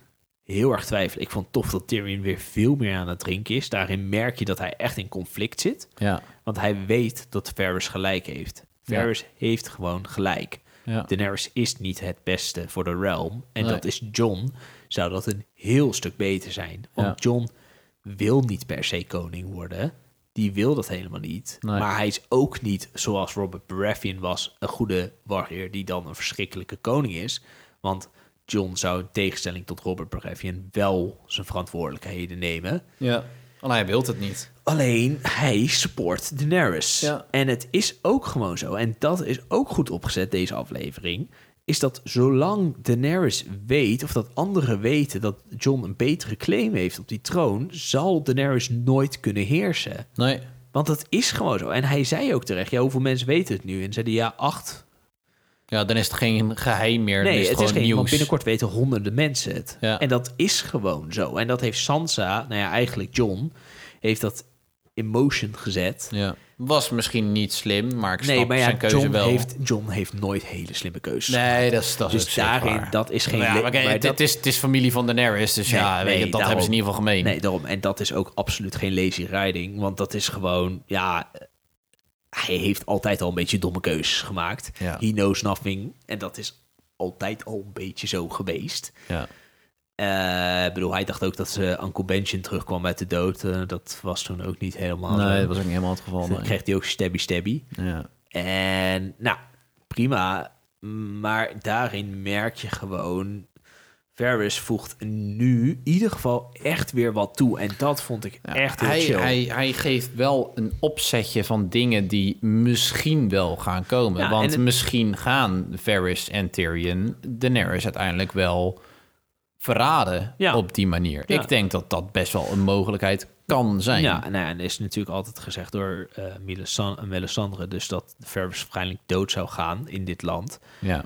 Speaker 3: heel erg twijfelen. Ik vond tof dat Tyrion weer veel meer aan het drinken is. Daarin merk je dat hij echt in conflict zit.
Speaker 1: Ja,
Speaker 3: Want hij weet dat Varys gelijk heeft.
Speaker 1: Ja.
Speaker 3: Varys heeft gewoon gelijk.
Speaker 1: Ja.
Speaker 3: Daenerys is niet het beste voor de realm. En
Speaker 1: Nee.
Speaker 3: dat is John. Zou dat een heel stuk beter zijn. Want
Speaker 1: Ja.
Speaker 3: John wil niet per se koning worden. Die wil dat helemaal niet.
Speaker 1: Nee.
Speaker 3: Maar hij is ook niet, zoals Robert Baratheon was, een goede warrior die dan een verschrikkelijke koning is. Want John zou in tegenstelling tot Robert Baratheon wel zijn verantwoordelijkheden nemen.
Speaker 1: ja. Alleen hij wil het niet.
Speaker 3: Alleen hij support Daenerys.
Speaker 1: Ja.
Speaker 3: En het is ook gewoon zo. En dat is ook goed opgezet, deze aflevering. Is dat zolang Daenerys weet, of dat anderen weten dat Jon een betere claim heeft op die troon, zal Daenerys nooit kunnen heersen.
Speaker 1: Nee,
Speaker 3: Want dat is gewoon zo. En hij zei ook terecht, ja, hoeveel mensen weten het nu? En zeiden ja, acht.
Speaker 1: ja, dan is het geen geheim meer. dan
Speaker 3: Nee,
Speaker 1: is het,
Speaker 3: het is
Speaker 1: gewoon
Speaker 3: geen, want
Speaker 1: nieuws.
Speaker 3: binnenkort weten honderden mensen het.
Speaker 1: Ja.
Speaker 3: En dat is gewoon zo. En dat heeft Sansa, nou ja, eigenlijk Jon, heeft dat in motion gezet.
Speaker 1: Ja. Was misschien niet slim, maar ik snap
Speaker 3: nee, maar ja,
Speaker 1: zijn keuze
Speaker 3: John,
Speaker 1: wel.
Speaker 3: Heeft, John heeft nooit hele slimme keuzes.
Speaker 1: Nee, dat is, dat is
Speaker 3: Dus
Speaker 1: op zich
Speaker 3: daarin,
Speaker 1: waar. Nou
Speaker 3: dat is geen
Speaker 1: Ja,
Speaker 3: le-
Speaker 1: maar kijk,
Speaker 3: maar
Speaker 1: het,
Speaker 3: dat-
Speaker 1: het is, het is familie van Daenerys, dus ja, weet je, dat
Speaker 3: daarom.
Speaker 1: hebben ze in ieder geval gemeen.
Speaker 3: Nee, daarom. En dat is ook absoluut geen lazy riding. Want dat is gewoon, ja... eh, Hij heeft altijd al een beetje domme keuzes gemaakt.
Speaker 1: Ja.
Speaker 3: He knows nothing. En dat is altijd al een beetje zo geweest.
Speaker 1: Ja.
Speaker 3: Eh, ik bedoel, hij dacht ook dat ze Uncle Benjen terugkwam uit de dood. Eh, dat was toen ook niet helemaal...
Speaker 1: nee,
Speaker 3: zo.
Speaker 1: dat was ook niet helemaal het geval.
Speaker 3: Toen
Speaker 1: nee.
Speaker 3: kreeg hij ook stabby-stabby.
Speaker 1: Ja.
Speaker 3: En nou, prima. Maar daarin merk je gewoon... Ferris voegt nu in ieder geval echt weer wat toe. En dat vond ik echt heel
Speaker 1: hij,
Speaker 3: chill.
Speaker 1: hij, hij geeft wel een opzetje van dingen die misschien wel gaan komen.
Speaker 3: Ja, en
Speaker 1: want
Speaker 3: het-
Speaker 1: misschien gaan Varys en Tyrion Daenerys uiteindelijk wel verraden
Speaker 3: Ja.
Speaker 1: op die manier.
Speaker 3: Ja.
Speaker 1: Ik denk dat dat best wel een mogelijkheid kan zijn.
Speaker 3: Ja, nou ja, en er is natuurlijk altijd gezegd door eh Melisandre, Melisandre... dus dat Ferris waarschijnlijk dood zou gaan in dit land.
Speaker 1: Ja.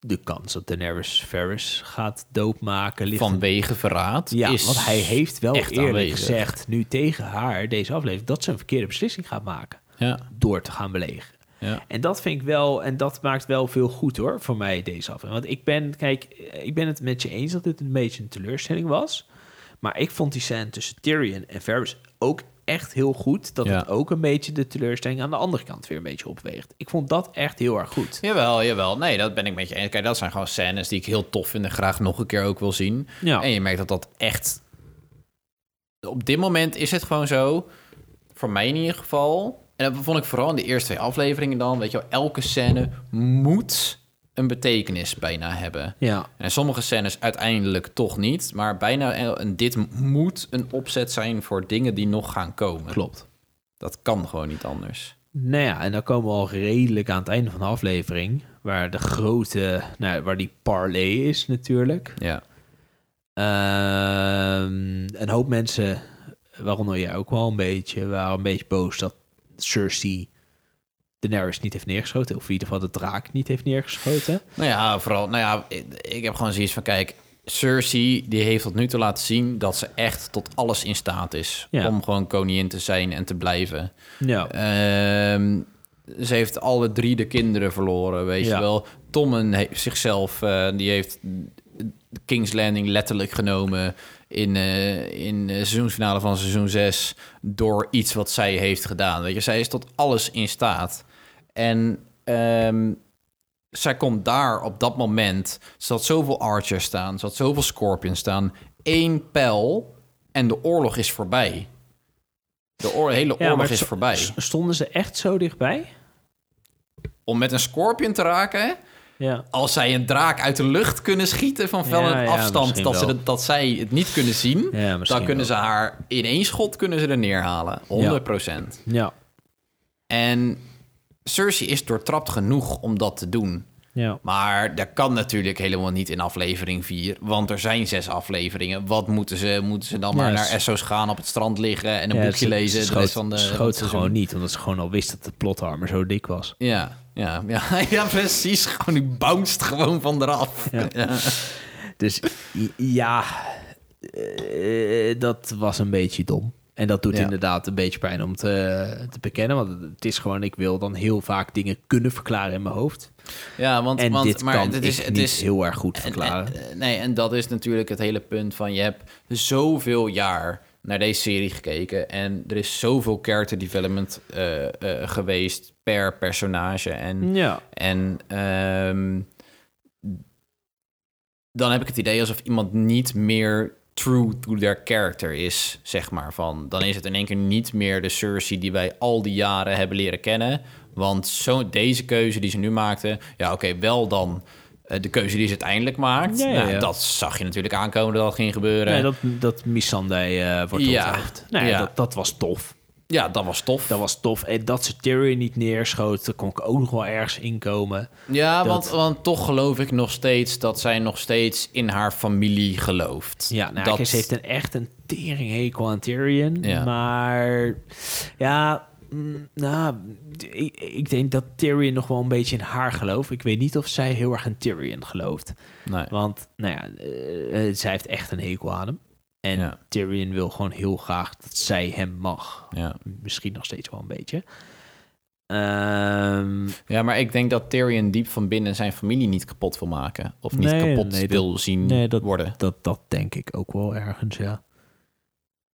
Speaker 3: De kans dat Daenerys Ferris gaat doodmaken ligt...
Speaker 1: Vanwege verraad
Speaker 3: ja,
Speaker 1: is
Speaker 3: want hij heeft wel
Speaker 1: echt
Speaker 3: eerlijk
Speaker 1: aanwezig.
Speaker 3: gezegd nu tegen haar deze aflevering... dat ze een verkeerde beslissing gaat maken.
Speaker 1: Ja,
Speaker 3: door te gaan belegen.
Speaker 1: ja.
Speaker 3: En dat vind ik wel, en dat maakt wel veel goed hoor, voor mij deze aflevering. Want ik ben, kijk, ik ben het met je eens dat dit een beetje een teleurstelling was. Maar ik vond die scène tussen Tyrion en Varys ook echt heel goed. Dat
Speaker 1: Ja.
Speaker 3: het ook een beetje de teleurstelling aan de andere kant weer een beetje opweegt. Ik vond dat echt heel erg goed.
Speaker 1: Jawel, jawel. Nee, dat ben ik met je eens. Kijk, dat zijn gewoon scènes die ik heel tof vind en graag nog een keer ook wil zien.
Speaker 3: Ja.
Speaker 1: En je merkt dat dat echt... Op dit moment is het gewoon zo, voor mij in ieder geval... En dat vond ik vooral in de eerste twee afleveringen dan. Weet je wel, elke scène moet een betekenis bijna hebben.
Speaker 3: Ja,
Speaker 1: En sommige scènes uiteindelijk toch niet. Maar bijna een, dit moet een opzet zijn voor dingen die nog gaan komen.
Speaker 3: klopt.
Speaker 1: Dat kan gewoon niet anders.
Speaker 3: Nou ja, en dan komen we al redelijk aan het einde van de aflevering. Waar de grote, nou, waar die parlay is natuurlijk.
Speaker 1: Ja.
Speaker 3: Ehm, een hoop mensen, waaronder jij ook wel een beetje, waren een beetje boos dat Cersei Daenerys niet heeft neergeschoten. Of in ieder geval de draak niet heeft neergeschoten.
Speaker 1: Nou ja, vooral. Nou ja, ik, ik heb gewoon zoiets van: kijk, Cersei die heeft tot nu toe laten zien dat ze echt tot alles in staat is
Speaker 3: Ja.
Speaker 1: om gewoon koningin te zijn en te blijven.
Speaker 3: Ja.
Speaker 1: Ehm, ze heeft alle drie de kinderen verloren, weet
Speaker 3: Ja.
Speaker 1: je wel. Tommen heeft zichzelf, eh, die heeft King's Landing letterlijk genomen in, eh, in de seizoensfinale van seizoen 6 door iets wat zij heeft gedaan. Weet je, zij is tot alles in staat. En ehm, zij komt daar op dat moment, ze had zoveel archers staan, ze had zoveel scorpions staan, één pijl en de oorlog is voorbij. De oor- hele
Speaker 3: Ja,
Speaker 1: oorlog is
Speaker 3: st-
Speaker 1: voorbij
Speaker 3: st- Stonden ze echt zo dichtbij?
Speaker 1: om met een scorpion te raken.
Speaker 3: Ja.
Speaker 1: Als zij een draak uit de lucht kunnen schieten van fel
Speaker 3: Ja,
Speaker 1: een
Speaker 3: ja,
Speaker 1: afstand,
Speaker 3: misschien
Speaker 1: dat, ze
Speaker 3: wel.
Speaker 1: dat, dat zij het niet kunnen zien,
Speaker 3: Ja, misschien
Speaker 1: dan kunnen
Speaker 3: wel.
Speaker 1: ze haar in één schot kunnen ze er neerhalen. 100%.
Speaker 3: Ja.
Speaker 1: En Cersei is doortrapt genoeg om dat te doen.
Speaker 3: Ja.
Speaker 1: Maar dat kan natuurlijk helemaal niet in aflevering 4. Want er zijn zes afleveringen. Wat moeten ze? Moeten ze dan maar
Speaker 3: Ja,
Speaker 1: naar
Speaker 3: ze-
Speaker 1: Essos gaan, op het strand liggen en een
Speaker 3: Ja,
Speaker 1: boekje
Speaker 3: ze-
Speaker 1: lezen?
Speaker 3: Ze
Speaker 1: de
Speaker 3: schoot,
Speaker 1: rest van de,
Speaker 3: schoot
Speaker 1: van het
Speaker 3: ze
Speaker 1: seizoen?
Speaker 3: gewoon niet, omdat ze gewoon al wist dat de plotarmer zo dik was.
Speaker 1: Ja, ja, ja, ja, <laughs> precies. Gewoon, die bounced gewoon van eraf.
Speaker 3: Ja. Dus i- ja, eh, dat was een beetje dom. En dat doet
Speaker 1: Ja.
Speaker 3: inderdaad een beetje pijn om te, te bekennen. Want het is gewoon, ik wil dan heel vaak dingen kunnen verklaren in mijn hoofd.
Speaker 1: Ja, want,
Speaker 3: En
Speaker 1: want
Speaker 3: dit
Speaker 1: maar
Speaker 3: kan
Speaker 1: het
Speaker 3: is,
Speaker 1: is,
Speaker 3: ik
Speaker 1: het
Speaker 3: niet
Speaker 1: is
Speaker 3: heel erg goed
Speaker 1: en-
Speaker 3: verklaren.
Speaker 1: en- nee, en dat is natuurlijk het hele punt van je hebt zoveel jaar naar deze serie gekeken en er is zoveel character development eh, eh, geweest per personage en
Speaker 3: ja.
Speaker 1: en ehm, dan heb ik het idee alsof iemand niet meer true to their character is, zeg maar. Van, dan is het in één keer niet meer de Cersei die wij al die jaren hebben leren kennen. Want zo, deze keuze die ze nu maakte, ja oké, wel dan eh, de keuze die ze uiteindelijk maakt.
Speaker 3: Ja, ja,
Speaker 1: Nou,
Speaker 3: ja.
Speaker 1: dat zag je natuurlijk aankomen dat dat ging gebeuren.
Speaker 3: Nee, dat, dat Missandei eh, wordt
Speaker 1: Ja.
Speaker 3: onthoofd. Nou ja,
Speaker 1: Ja.
Speaker 3: Dat, dat was tof.
Speaker 1: ja, dat was tof.
Speaker 3: Dat was tof. En dat ze Tyrion niet neerschoot, daar kon ik ook nog wel ergens inkomen.
Speaker 1: ja,
Speaker 3: dat-
Speaker 1: want, want toch geloof ik nog steeds dat zij nog steeds in haar familie gelooft.
Speaker 3: Ja, nou,
Speaker 1: dat,
Speaker 3: kijk, ze heeft een, echt een tering hekel aan Tyrion.
Speaker 1: Ja.
Speaker 3: Maar ja, mm, nou, d- ik, ik denk dat Tyrion nog wel een beetje in haar gelooft. Ik weet niet of zij heel erg in Tyrion gelooft.
Speaker 1: Nee.
Speaker 3: Want, nou ja, eh, eh, zij heeft echt een hekel aan hem. En
Speaker 1: Ja.
Speaker 3: Tyrion wil gewoon heel graag dat zij hem mag.
Speaker 1: Ja.
Speaker 3: Misschien nog steeds wel een beetje. Ehm,
Speaker 1: Ja, maar ik denk dat Tyrion diep van binnen zijn familie niet kapot wil maken. Of niet
Speaker 3: Nee,
Speaker 1: kapot
Speaker 3: nee, dat-
Speaker 1: wil zien
Speaker 3: nee, dat-
Speaker 1: worden.
Speaker 3: dat, dat denk ik ook wel ergens, ja.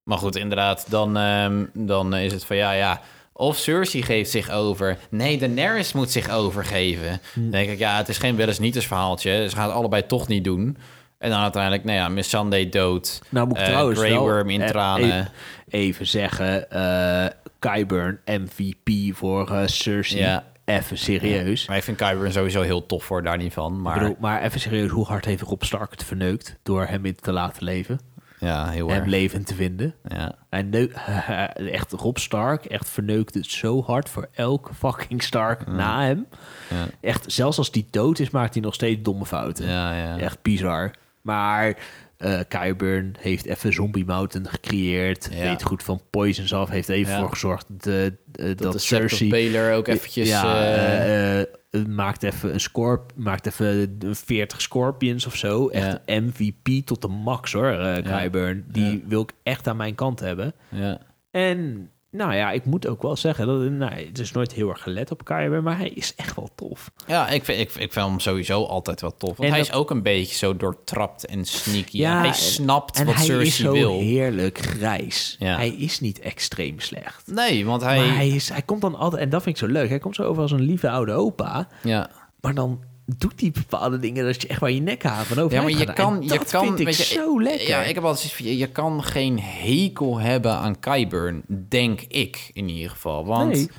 Speaker 1: Maar goed, inderdaad, dan, ehm, dan eh, is het van ja, ja. Of Cersei geeft zich over. Nee, Daenerys moet zich overgeven.
Speaker 3: Hm.
Speaker 1: Dan denk ik, ja, het is geen wel eens niet eens verhaaltje. Ze gaan het allebei toch niet doen. En dan uiteindelijk, nou ja, Missandei dood.
Speaker 3: Nou moet ik
Speaker 1: Eh,
Speaker 3: trouwens
Speaker 1: Grey
Speaker 3: wel
Speaker 1: Worm in
Speaker 3: e-
Speaker 1: tranen.
Speaker 3: e- even zeggen, eh Qyburn MVP voor eh, Cersei.
Speaker 1: Ja.
Speaker 3: Even serieus.
Speaker 1: Maar ik vind Qyburn sowieso heel tof voor, daar niet van.
Speaker 3: Maar,
Speaker 1: Maar
Speaker 3: bedoel, maar even serieus, hoe hard heeft Rob Stark het verneukt door hem in te laten leven?
Speaker 1: ja, heel
Speaker 3: Hem
Speaker 1: erg.
Speaker 3: levend te vinden.
Speaker 1: Ja.
Speaker 3: Hij neu- <laughs> echt Rob Stark, echt verneukt het zo hard voor elke fucking Stark na hem.
Speaker 1: Ja.
Speaker 3: Echt, zelfs als die dood is, maakt hij nog steeds domme fouten.
Speaker 1: Ja, ja.
Speaker 3: Echt bizar. Maar eh Qyburn heeft even Zombie Mountain gecreëerd.
Speaker 1: Ja.
Speaker 3: Weet goed van Poisons af. Heeft er even
Speaker 1: Ja.
Speaker 3: voor gezorgd de, eh, dat,
Speaker 1: Dat de Sept of
Speaker 3: Cersei...
Speaker 1: Baelor ook eventjes...
Speaker 3: ja,
Speaker 1: eh,
Speaker 3: eh, eh, maakt even een scorp, maakt even 40 Scorpions of zo. Echt MVP tot de max hoor, eh Qyburn. Die wil ik echt aan mijn kant hebben.
Speaker 1: ja.
Speaker 3: En nou ja, ik moet ook wel zeggen, dat, nou, het is nooit heel erg gelet op Qyburn, maar hij is echt wel tof.
Speaker 1: Ja, ik vind, ik, ik vind hem sowieso altijd wel tof. Want
Speaker 3: En
Speaker 1: hij
Speaker 3: dat-
Speaker 1: is ook een beetje zo doortrapt en sneaky.
Speaker 3: Ja,
Speaker 1: hij
Speaker 3: en-
Speaker 1: snapt
Speaker 3: En
Speaker 1: wat
Speaker 3: hij
Speaker 1: Cersei
Speaker 3: is zo
Speaker 1: wil.
Speaker 3: heerlijk grijs.
Speaker 1: Ja.
Speaker 3: Hij is niet extreem slecht.
Speaker 1: Nee, want hij...
Speaker 3: Maar hij, is, hij komt dan altijd, en dat vind ik zo leuk, hij komt zo over als een lieve oude opa.
Speaker 1: Ja.
Speaker 3: Maar dan doet hij bepaalde dingen dat je echt waar je nek haalt van over.
Speaker 1: Ja, maar
Speaker 3: heen
Speaker 1: je
Speaker 3: gaat.
Speaker 1: kan,
Speaker 3: En
Speaker 1: je
Speaker 3: dat
Speaker 1: kan,
Speaker 3: vind ik
Speaker 1: weet je,
Speaker 3: zo lekker.
Speaker 1: Ja, ik heb altijd zoiets van, je, je kan geen hekel hebben aan Kyburn, denk ik in ieder geval. Want
Speaker 3: Nee.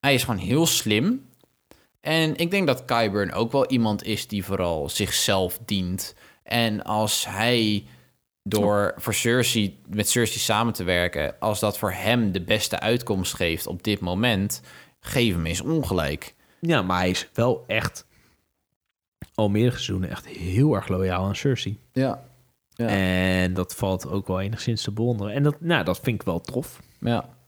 Speaker 1: hij is gewoon heel slim. En ik denk dat Kyburn ook wel iemand is die vooral zichzelf dient. En als hij door voor Cersei, met Cersei samen te werken, als dat voor hem de beste uitkomst geeft op dit moment, geef hem eens ongelijk.
Speaker 3: Ja, maar hij is wel echt al meerdere seizoenen echt heel erg loyaal aan Cersei.
Speaker 1: Ja, Ja.
Speaker 3: En dat valt ook wel enigszins te bewonderen. En dat, nou, dat vind ik wel tof.
Speaker 1: ja.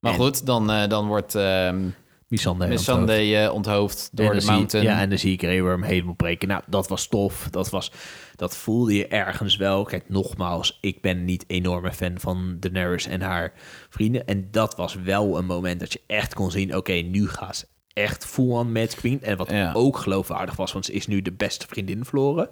Speaker 1: Maar
Speaker 3: En-
Speaker 1: goed, dan, eh, dan wordt... ehm,
Speaker 3: Missandei. aan het hoofd.
Speaker 1: Missandei eh, onthoofd
Speaker 3: En
Speaker 1: door
Speaker 3: dan
Speaker 1: de
Speaker 3: zie-
Speaker 1: mountain.
Speaker 3: ja, en dan zie ik Grey Worm helemaal breken. Nou, dat was tof. Dat, was, dat voelde je ergens wel. Kijk, nogmaals, ik ben niet enorme fan van Daenerys en haar vrienden. En dat was wel een moment dat je echt kon zien... oké, nu gaan ze echt full-on Mad Queen. En wat
Speaker 1: Ja.
Speaker 3: ook geloofwaardig was, want ze is nu de beste vriendin verloren.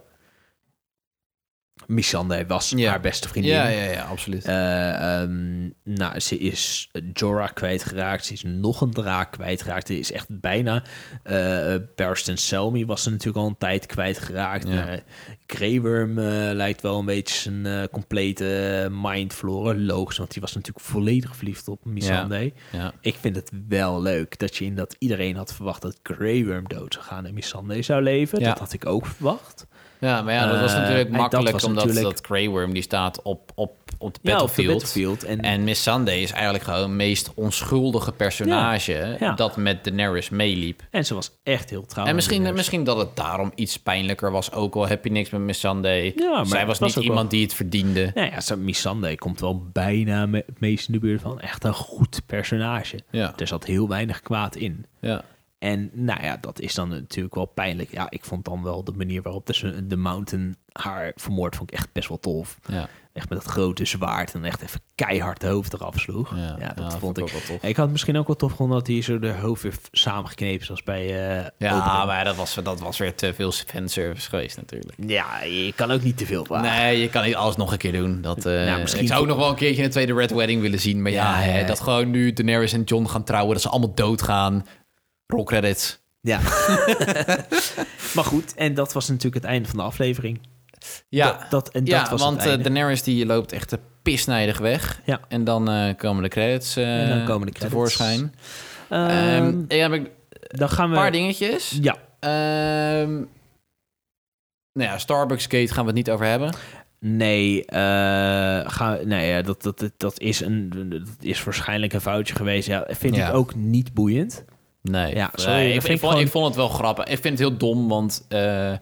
Speaker 3: Missandei was
Speaker 1: Ja.
Speaker 3: haar beste vriendin.
Speaker 1: ja, ja, ja, absoluut.
Speaker 3: Eh, ehm, nou, ze is Jorah kwijtgeraakt. Ze is nog een draak kwijtgeraakt. Ze is echt bijna... eh Barristan Selmy was ze natuurlijk al een tijd kwijtgeraakt.
Speaker 1: Ja.
Speaker 3: Eh, Grey Worm eh, lijkt wel een beetje zijn eh, complete eh, mind verloren. Logisch, want die was natuurlijk volledig verliefd op Missandei.
Speaker 1: ja.
Speaker 3: Ik vind het wel leuk dat je in dat iedereen had verwacht... dat Grey Worm dood zou gaan en Missandei zou leven.
Speaker 1: Ja.
Speaker 3: Dat had ik ook verwacht.
Speaker 1: ja, maar ja, dat was
Speaker 3: Eh,
Speaker 1: natuurlijk
Speaker 3: en dat
Speaker 1: makkelijk
Speaker 3: was een
Speaker 1: omdat omdat
Speaker 3: natuurlijk.
Speaker 1: dat Grey Worm die staat op, op, op, de
Speaker 3: Ja, op de
Speaker 1: battlefield.
Speaker 3: battlefield. En-
Speaker 1: En Miss Sunday is eigenlijk gewoon het meest onschuldige personage
Speaker 3: ja.
Speaker 1: dat met Daenerys meeliep.
Speaker 3: En ze was echt heel trouw.
Speaker 1: En
Speaker 3: aan
Speaker 1: misschien,
Speaker 3: Daenerys.
Speaker 1: misschien dat het daarom iets pijnlijker was, ook al heb je niks met Miss Sunday.
Speaker 3: Ja, maar
Speaker 1: Zij
Speaker 3: het
Speaker 1: was,
Speaker 3: was
Speaker 1: niet
Speaker 3: ook wel-
Speaker 1: iemand die het verdiende.
Speaker 3: Nou ja, zo- Missandei komt wel bijna me- het meest in de buurt van echt een goed personage.
Speaker 1: Ja.
Speaker 3: Er zat heel weinig kwaad in.
Speaker 1: Ja.
Speaker 3: En nou ja, dat is dan natuurlijk wel pijnlijk. Ja, ik vond dan wel de manier waarop de, s- de Mountain haar vermoord, vond ik echt best wel tof.
Speaker 1: Ja.
Speaker 3: Echt met dat grote zwaard en echt even keihard de hoofd eraf sloeg.
Speaker 1: Ja,
Speaker 3: Ja,
Speaker 1: ja,
Speaker 3: dat vond ik.
Speaker 1: ook wel tof.
Speaker 3: ik had het misschien ook wel tof gevonden dat hij zo de hoofd weer v- samengeknepen, zoals bij eh,
Speaker 1: Ja,
Speaker 3: Oberyn.
Speaker 1: maar dat was, dat was weer te veel fanservice geweest natuurlijk.
Speaker 3: Ja, je kan ook niet te veel vragen.
Speaker 1: Nee, je kan niet alles nog een keer doen. Dat, eh,
Speaker 3: Nou, misschien
Speaker 1: ik zou ook
Speaker 3: voor-
Speaker 1: nog wel een keertje een tweede Red Wedding willen zien. Maar ja,
Speaker 3: Ja,
Speaker 1: hè,
Speaker 3: ja.
Speaker 1: dat gewoon nu Daenerys en John gaan trouwen. Dat ze allemaal doodgaan. Roll credits.
Speaker 3: Ja. <laughs> maar goed, en dat was natuurlijk het einde van de aflevering.
Speaker 1: Ja,
Speaker 3: Dat- dat- en dat
Speaker 1: ja
Speaker 3: was het
Speaker 1: want eh,
Speaker 3: einde.
Speaker 1: Daenerys die loopt echt eh, pisnijdig weg.
Speaker 3: Ja.
Speaker 1: En dan eh, komen de credits, eh
Speaker 3: En dan komen de credits.
Speaker 1: tevoorschijn.
Speaker 3: Ehm,
Speaker 1: Ehm, ik heb een
Speaker 3: dan gaan we...
Speaker 1: paar dingetjes.
Speaker 3: Ja,
Speaker 1: Ehm, nou ja, Starbucks Gate gaan we het niet over hebben.
Speaker 3: nee, eh, ga, nee ja, dat, dat, dat, dat is een, dat is waarschijnlijk een foutje geweest. Ja, vind
Speaker 1: Ja.
Speaker 3: ik ook niet boeiend.
Speaker 1: Nee.
Speaker 3: Ja, sorry,
Speaker 1: Nee,
Speaker 3: dat
Speaker 1: ik,
Speaker 3: vind
Speaker 1: ik, vond,
Speaker 3: ik gewoon-
Speaker 1: ik vond het wel grappig. Ik vind het heel dom, want eh, eh,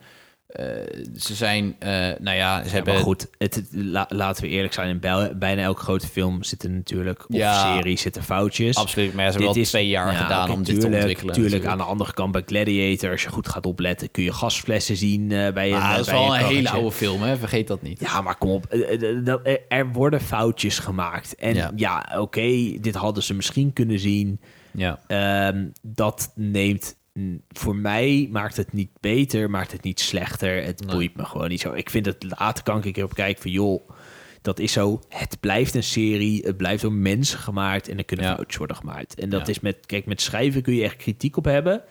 Speaker 1: ze zijn, eh, nou ja, ze
Speaker 3: Ja,
Speaker 1: hebben...
Speaker 3: maar goed, het, het- la- laten we eerlijk zijn. In bij- bijna elke grote film zitten natuurlijk, of
Speaker 1: Ja.
Speaker 3: serie zitten foutjes.
Speaker 1: Absoluut, maar ze hebben
Speaker 3: dus Dit
Speaker 1: wel
Speaker 3: is-
Speaker 1: twee jaar
Speaker 3: Ja,
Speaker 1: gedaan
Speaker 3: oké,
Speaker 1: om dit
Speaker 3: tuurlijk,
Speaker 1: te ontwikkelen. dus-
Speaker 3: Tuurlijk,
Speaker 1: natuurlijk.
Speaker 3: aan de andere kant bij Gladiator, als je goed gaat opletten, kun je gasflessen zien eh, bij een
Speaker 1: Ah,
Speaker 3: eh,
Speaker 1: dat is
Speaker 3: bij
Speaker 1: wel een hele
Speaker 3: karretje.
Speaker 1: oude film, hè? vergeet dat niet.
Speaker 3: Ja, maar kom op. Eh, eh, eh, dat- eh, Er worden foutjes gemaakt. En
Speaker 1: Ja.
Speaker 3: ja, oké, dit hadden ze misschien kunnen zien.
Speaker 1: Ja.
Speaker 3: Ehm, dat neemt... mm, Voor mij maakt het niet beter, maakt het niet slechter. Het boeit me gewoon niet zo. Ik vind het later kan ik een keer op kijken van... joh, dat is zo. Het blijft een serie. Het blijft door mensen gemaakt. En er kunnen
Speaker 1: Ja.
Speaker 3: foutjes worden gemaakt. En dat
Speaker 1: Ja.
Speaker 3: is met... Kijk, met schrijven kun je echt kritiek op hebben.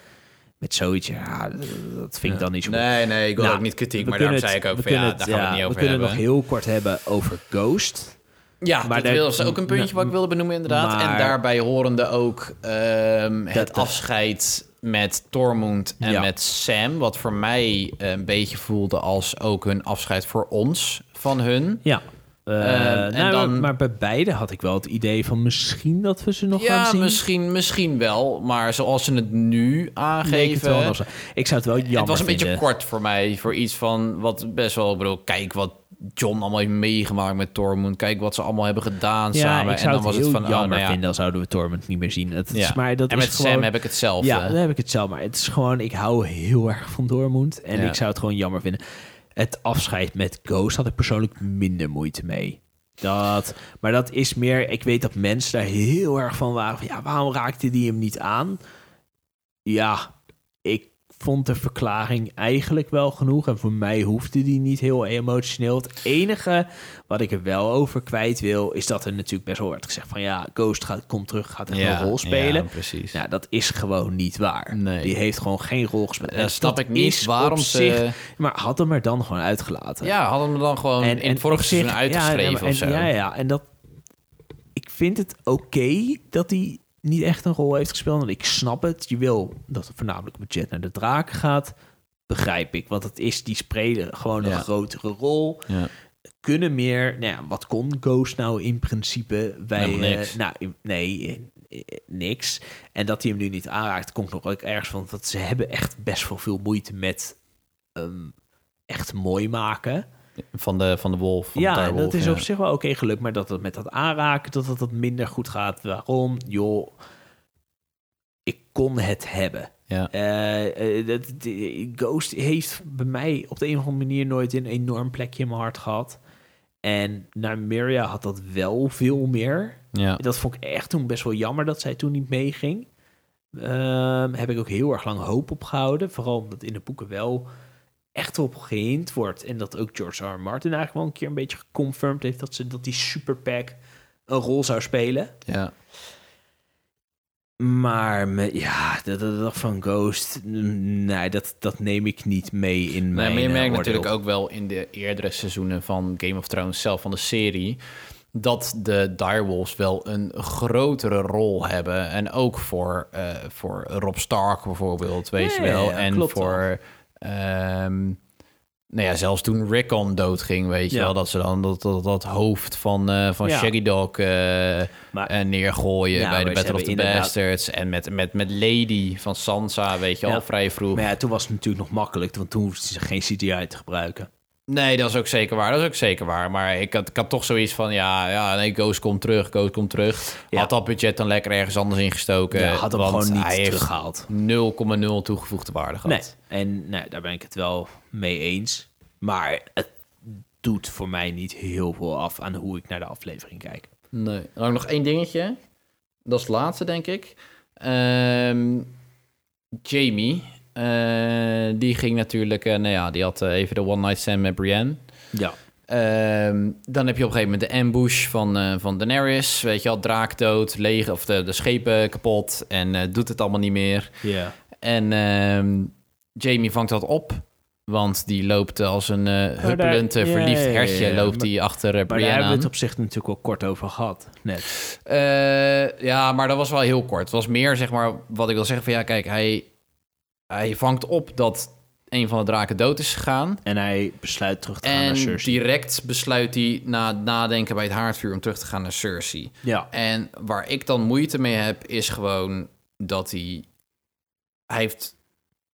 Speaker 3: Met zoiets, ja, dat vind ik dan niet zo goed.
Speaker 1: Nee, nee, ik wil
Speaker 3: Nou,
Speaker 1: ook niet kritiek,
Speaker 3: we
Speaker 1: maar daarom
Speaker 3: kunnen
Speaker 1: zei
Speaker 3: het-
Speaker 1: ik ook
Speaker 3: we
Speaker 1: van ja,
Speaker 3: kunnen het-
Speaker 1: daar gaan we het niet
Speaker 3: We
Speaker 1: over
Speaker 3: kunnen
Speaker 1: hebben.
Speaker 3: het nog heel kort hebben over Ghost.
Speaker 1: Ja, maar
Speaker 3: maar
Speaker 1: dat
Speaker 3: daar-
Speaker 1: was ook een puntje wat ik wilde benoemen inderdaad. en
Speaker 3: Maar-
Speaker 1: daarbij horende ook ehm, het
Speaker 3: Dat- dat-
Speaker 1: afscheid met Tormund en
Speaker 3: Ja.
Speaker 1: met Sam, wat voor mij eh, een beetje voelde als ook hun afscheid voor ons van hun.
Speaker 3: Ja. Eh,
Speaker 1: Ehm,
Speaker 3: nou,
Speaker 1: en dan-
Speaker 3: Maar bij beide had ik wel het idee van misschien dat we ze nog gaan
Speaker 1: Ja,
Speaker 3: zien.
Speaker 1: misschien, misschien wel, maar zoals ze het nu
Speaker 3: Leek het wel
Speaker 1: aangeven,
Speaker 3: een afspraak. Ik zou het wel jammer
Speaker 1: het was een beetje
Speaker 3: vinden.
Speaker 1: kort voor mij. Voor iets van wat best wel. Ik bedoel, kijk wat John allemaal heeft meegemaakt met Tormund. Kijk wat ze allemaal hebben gedaan
Speaker 3: Ja,
Speaker 1: samen.
Speaker 3: ik zou
Speaker 1: en dan
Speaker 3: het
Speaker 1: was
Speaker 3: heel
Speaker 1: het van. oh,
Speaker 3: jammer
Speaker 1: nou ja.
Speaker 3: vinden. Dan zouden we Torment niet meer zien. Het
Speaker 1: Ja.
Speaker 3: is, maar dat
Speaker 1: en
Speaker 3: is
Speaker 1: met
Speaker 3: gewoon...
Speaker 1: Sam heb ik eh. hetzelfde.
Speaker 3: Ja, dan heb ik het zelf. Maar het is gewoon, ik hou heel erg van Dormund. En
Speaker 1: Ja.
Speaker 3: ik zou het gewoon jammer vinden. Het afscheid met Ghost had ik persoonlijk minder moeite mee. Dat, maar dat is meer, ik weet dat mensen daar heel erg van waren. Van, ja, waarom raakte die hem niet aan? Ja, ik vond de verklaring eigenlijk wel genoeg. En voor mij hoefde die niet heel emotioneel. Het enige wat ik er wel over kwijt wil, is dat er natuurlijk best wel werd gezegd van ja, Ghost gaat, komt terug, gaat echt
Speaker 1: Ja,
Speaker 3: een rol spelen.
Speaker 1: ja, precies.
Speaker 3: Ja, dat is gewoon niet waar.
Speaker 1: Nee.
Speaker 3: Die heeft gewoon geen rol gespeeld.
Speaker 1: Ja,
Speaker 3: En
Speaker 1: snap
Speaker 3: dat
Speaker 1: ik niet
Speaker 3: is
Speaker 1: waarom
Speaker 3: op
Speaker 1: ze-
Speaker 3: zich- Maar had hem er dan gewoon uitgelaten.
Speaker 1: Ja, hadden we dan gewoon in het vorige
Speaker 3: op zich-
Speaker 1: seizoen uitgeschreven
Speaker 3: ja, nee, maar-
Speaker 1: of
Speaker 3: en-
Speaker 1: zo.
Speaker 3: Ja, ja, en dat... Ik vind het oké dat hij niet echt een rol heeft gespeeld. Want ik snap het. Je wil dat het voornamelijk budget naar de draak gaat. Begrijp ik. Want het is die spelen gewoon een
Speaker 1: Ja.
Speaker 3: grotere rol
Speaker 1: Ja.
Speaker 3: kunnen meer. Nou ja, wat kon Ghost nou in principe? Wij,
Speaker 1: Helemaal niks.
Speaker 3: eh, nou, in- nee, eh, eh, niks. En dat hij hem nu niet aanraakt, komt nog ook ergens van. Want ze hebben echt best wel veel moeite met ehm, echt mooi maken.
Speaker 1: Van, de, van de wolf. Van de
Speaker 3: ja, en
Speaker 1: tuinwolf,
Speaker 3: dat is
Speaker 1: ja.
Speaker 3: op zich wel oké geluk. Maar dat het met dat aanraken, dat het dat minder goed gaat. Waarom? Joh, ik kon het hebben.
Speaker 1: Ja.
Speaker 3: Eh, eh, dat, die- Ghost heeft bij mij op de een of andere manier nooit een enorm plekje in mijn hart gehad. En Nymeria had dat wel veel meer.
Speaker 1: Ja.
Speaker 3: Dat vond ik echt toen best wel jammer dat zij toen niet meeging. Ehm, heb ik ook heel erg lang hoop opgehouden. Vooral omdat in de boeken wel echt op gehind wordt. En dat ook George R. R. Martin eigenlijk wel een keer een beetje geconfirmed heeft... dat, ze, dat die superpack een rol zou spelen.
Speaker 1: Ja.
Speaker 3: Maar me- ja, dat, dat, dat van Ghost, mm, nee, dat, dat neem ik niet mee in
Speaker 1: Nee,
Speaker 3: mijn
Speaker 1: maar je
Speaker 3: eh,
Speaker 1: merkt
Speaker 3: oordeel.
Speaker 1: natuurlijk ook wel in de eerdere seizoenen van Game of Thrones zelf, van de serie, dat de direwolves wel een grotere rol hebben. En ook voor, eh, voor Rob Stark bijvoorbeeld, weet
Speaker 3: Ja,
Speaker 1: je wel.
Speaker 3: ja, ja,
Speaker 1: en
Speaker 3: klopt
Speaker 1: voor... ehm, Nou ja, zelfs toen Rickon doodging, weet je
Speaker 3: Ja.
Speaker 1: wel, dat ze dan dat, dat, dat hoofd van, eh, van
Speaker 3: Ja.
Speaker 1: Shaggy Dog eh,
Speaker 3: Maar-
Speaker 1: eh, neergooien
Speaker 3: Ja,
Speaker 1: bij de
Speaker 3: maar ze
Speaker 1: Battle of the
Speaker 3: hebben inderdaad-
Speaker 1: Bastards. En met, met, met Lady van Sansa, weet je
Speaker 3: Ja.
Speaker 1: al, vrij vroeg.
Speaker 3: Maar ja, toen was het natuurlijk nog makkelijk, want toen hoefden ze geen CGI te gebruiken.
Speaker 1: Nee, dat is ook zeker waar. Dat is ook zeker waar. Maar ik had, ik had toch zoiets van, ja, ja nee, Ghost komt terug, Ghost komt terug.
Speaker 3: Ja.
Speaker 1: Had dat budget dan lekker ergens anders ingestoken.
Speaker 3: Ja, had hem
Speaker 1: want
Speaker 3: gewoon niet
Speaker 1: hij heeft
Speaker 3: teruggehaald.
Speaker 1: 0,0 toegevoegde waarde gehad.
Speaker 3: Nee, en nee, daar ben ik het wel mee eens. Maar het doet voor mij niet heel veel af aan hoe ik naar de aflevering kijk.
Speaker 1: Nee. En dan nog één dingetje. Dat is het laatste, denk ik. Ehm, Jamie. eh, die ging natuurlijk... eh, nou ja, die had eh, even de one night stand met Brienne.
Speaker 3: Ja.
Speaker 1: Ehm, dan heb je op een gegeven moment de ambush van, eh, van Daenerys. Weet je al, draak dood, leeg, of de, de schepen kapot. En eh, doet het allemaal niet meer.
Speaker 3: Ja.
Speaker 1: En ehm, Jamie vangt dat op. Want die loopt als een eh huppelend, eh,
Speaker 3: ja,
Speaker 1: verliefd
Speaker 3: Oh, ja, ja,
Speaker 1: hertje...
Speaker 3: ja,
Speaker 1: loopt
Speaker 3: maar-
Speaker 1: die achter eh,
Speaker 3: Maar daar
Speaker 1: Brienne
Speaker 3: hebben we
Speaker 1: aan.
Speaker 3: het op zich natuurlijk al kort over gehad. Net.
Speaker 1: Eh, ja, maar dat was wel heel kort. Het was meer, zeg maar, wat ik wil zeggen van... ja, kijk, hij, hij vangt op dat een van de draken dood is gegaan.
Speaker 3: En hij besluit terug te gaan naar
Speaker 1: En
Speaker 3: Cersei.
Speaker 1: direct besluit hij na het nadenken bij het haardvuur... om terug te gaan naar Cersei.
Speaker 3: Ja.
Speaker 1: En waar ik dan moeite mee heb, is gewoon dat hij... Hij heeft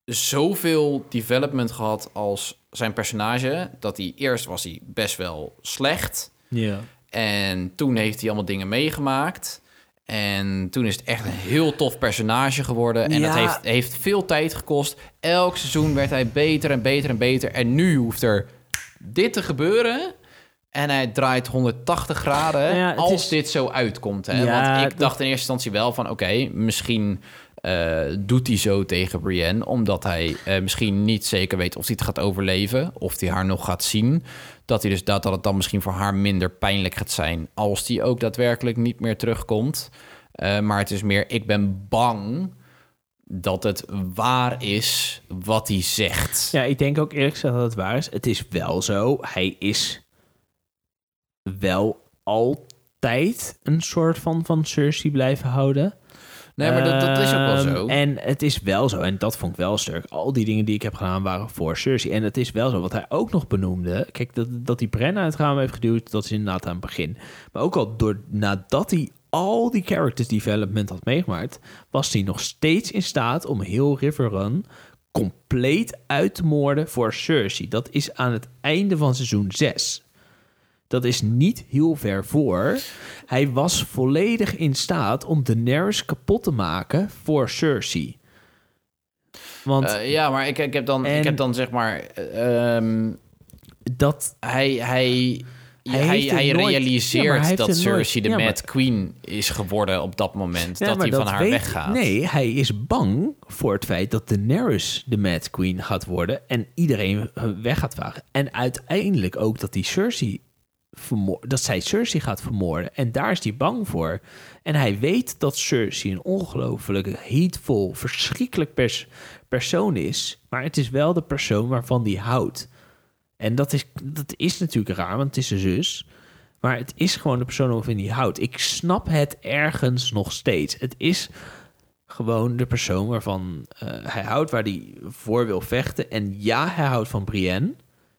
Speaker 1: zoveel development gehad als zijn personage... dat hij eerst was hij best wel slecht...
Speaker 3: Ja.
Speaker 1: En toen heeft hij allemaal dingen meegemaakt. En toen is het echt een heel tof personage geworden. En dat
Speaker 3: Ja.
Speaker 1: heeft, heeft veel tijd gekost. Elk seizoen werd hij beter en beter en beter. En nu hoeft er dit te gebeuren. En hij draait 180 graden
Speaker 3: Nou ja, het
Speaker 1: als
Speaker 3: is-
Speaker 1: dit zo uitkomt. Hè?
Speaker 3: Ja,
Speaker 1: Eh, Want ik
Speaker 3: dat-
Speaker 1: dacht in eerste instantie wel van... oké, misschien eh, doet hij zo tegen Brienne... omdat hij eh, misschien niet zeker weet of hij het gaat overleven... of hij haar nog gaat zien. Dat, hij dus, dat, dat het dan misschien voor haar minder pijnlijk gaat zijn... als die ook daadwerkelijk niet meer terugkomt. Eh, maar het is meer, ik ben bang dat het waar is wat hij zegt.
Speaker 3: ja, ik denk ook eerlijk gezegd dat het waar is. Het is wel zo. Hij is wel altijd een soort van van Cersei blijven houden.
Speaker 1: Nee, maar dat, dat is ook wel
Speaker 3: Ehm,
Speaker 1: zo.
Speaker 3: En het is wel zo, en dat vond ik wel sterk. Al die dingen die ik heb gedaan waren voor Cersei. En het is wel zo, wat hij ook nog benoemde. Kijk, dat, dat hij Bren uit het raam heeft geduwd, dat is inderdaad aan het begin. Maar ook al door, nadat hij al die characters development had meegemaakt... was hij nog steeds in staat om heel River Run compleet uit te moorden voor Cersei. Dat is aan het einde van seizoen 6. Dat is niet heel ver voor. Hij was volledig in staat om Daenerys kapot te maken voor Cersei. Want
Speaker 1: Eh, ja, maar ik, ik, heb dan,
Speaker 3: En-
Speaker 1: ik heb dan zeg maar. eh, ehm,
Speaker 3: dat...
Speaker 1: hij. hij hij,
Speaker 3: Hij
Speaker 1: hij,
Speaker 3: heeft het nooit-
Speaker 1: realiseert
Speaker 3: ja, maar hij heeft
Speaker 1: dat
Speaker 3: het nooit-
Speaker 1: Cersei de
Speaker 3: ja, maar-
Speaker 1: Mad Queen is geworden op dat moment.
Speaker 3: Ja,
Speaker 1: dat
Speaker 3: maar
Speaker 1: hij van haar
Speaker 3: weet-
Speaker 1: weggaat.
Speaker 3: Nee, hij is bang voor het feit dat Daenerys de Mad Queen gaat worden... en iedereen eh, weg gaat vagen. En uiteindelijk ook dat die Cersei... vermoor- Dat zij Cersei gaat vermoorden. En daar is hij bang voor. En hij weet dat Cersei een ongelooflijk hateful, verschrikkelijk pers- persoon is. Maar het is wel de persoon waarvan hij houdt. En dat is, dat is natuurlijk raar, want het is een zus. Maar het is gewoon de persoon waarvan die houdt. Ik snap het ergens nog steeds. Het is gewoon de persoon waarvan eh, hij houdt, waar hij voor wil vechten. En ja, hij houdt van Brienne.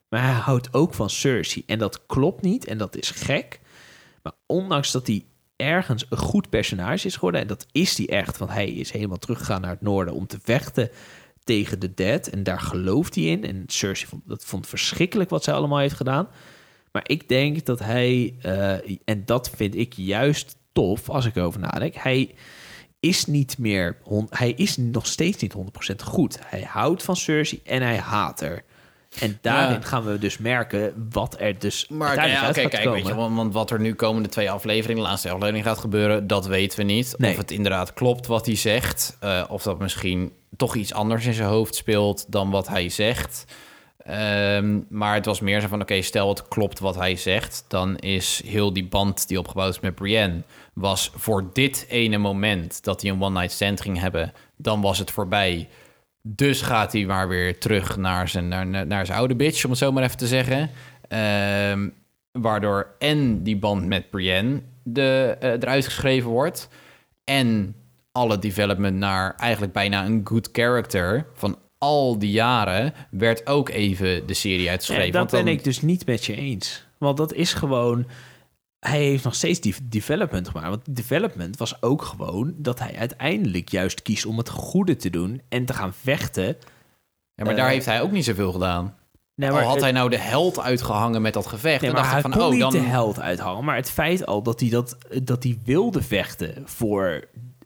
Speaker 3: Maar hij houdt ook van Cersei. En dat klopt niet en dat is gek. Maar ondanks dat hij ergens een goed personage is geworden... en dat is hij echt, want hij is helemaal teruggegaan naar het noorden... om te vechten tegen de Dead. En daar gelooft hij in. En Cersei vond, dat vond verschrikkelijk wat zij allemaal heeft gedaan. Maar ik denk dat hij... eh, en dat vind ik juist tof als ik erover nadenk. Hij is niet meer... hon- Hij is nog steeds niet 100% goed. Hij houdt van Cersei en hij haat haar. En daarin
Speaker 1: Ja.
Speaker 3: gaan we dus merken wat er dus
Speaker 1: Maar ja,
Speaker 3: uiteindelijk
Speaker 1: oké,
Speaker 3: uit gaat
Speaker 1: kijk, weet je,
Speaker 3: komen.
Speaker 1: want, want wat er nu komende twee afleveringen, de laatste aflevering gaat gebeuren, dat weten we niet.
Speaker 3: Nee.
Speaker 1: Of het inderdaad klopt wat hij zegt, eh, of dat misschien toch iets anders in zijn hoofd speelt dan wat hij zegt. Ehm, maar het was meer zo van, oké, stel het klopt wat hij zegt, dan is heel die band die opgebouwd is met Brienne, was voor dit ene moment dat hij een one-night stand ging hebben, dan was het voorbij. Dus gaat hij maar weer terug naar zijn, naar, naar naar zijn oude bitch, om het zo maar even te zeggen. Ehm, waardoor en die band met Brienne de, eh, eruit geschreven wordt. En alle development naar eigenlijk bijna een good character van al die jaren werd ook even de serie uitgeschreven.
Speaker 3: Nee, dat
Speaker 1: want dan,
Speaker 3: ben ik dus niet met je eens. Want dat is gewoon... Hij heeft nog steeds die development gemaakt. Want die development was ook gewoon dat hij uiteindelijk juist kiest om het goede te doen en te gaan vechten.
Speaker 1: Ja, maar daar heeft hij ook niet zoveel gedaan.
Speaker 3: Nee,
Speaker 1: Al had
Speaker 3: eh, het-
Speaker 1: hij nou de held uitgehangen met dat gevecht,
Speaker 3: nee,
Speaker 1: dan
Speaker 3: maar
Speaker 1: dacht ik van,
Speaker 3: hij kon
Speaker 1: oh, dan...
Speaker 3: niet de held uithangen. Maar het feit al dat hij, dat, dat hij wilde vechten voor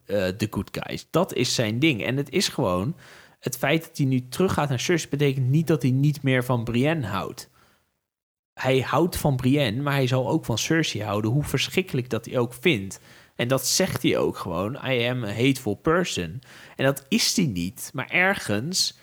Speaker 3: eh, de good guys, dat is zijn ding. En het is gewoon, het feit dat hij nu teruggaat naar Cersei betekent niet dat hij niet meer van Brienne houdt. Hij houdt van Brienne, maar hij zal ook van Cersei houden, hoe verschrikkelijk dat hij ook vindt. En dat zegt hij ook gewoon, I am a hateful person. En dat is hij niet, maar ergens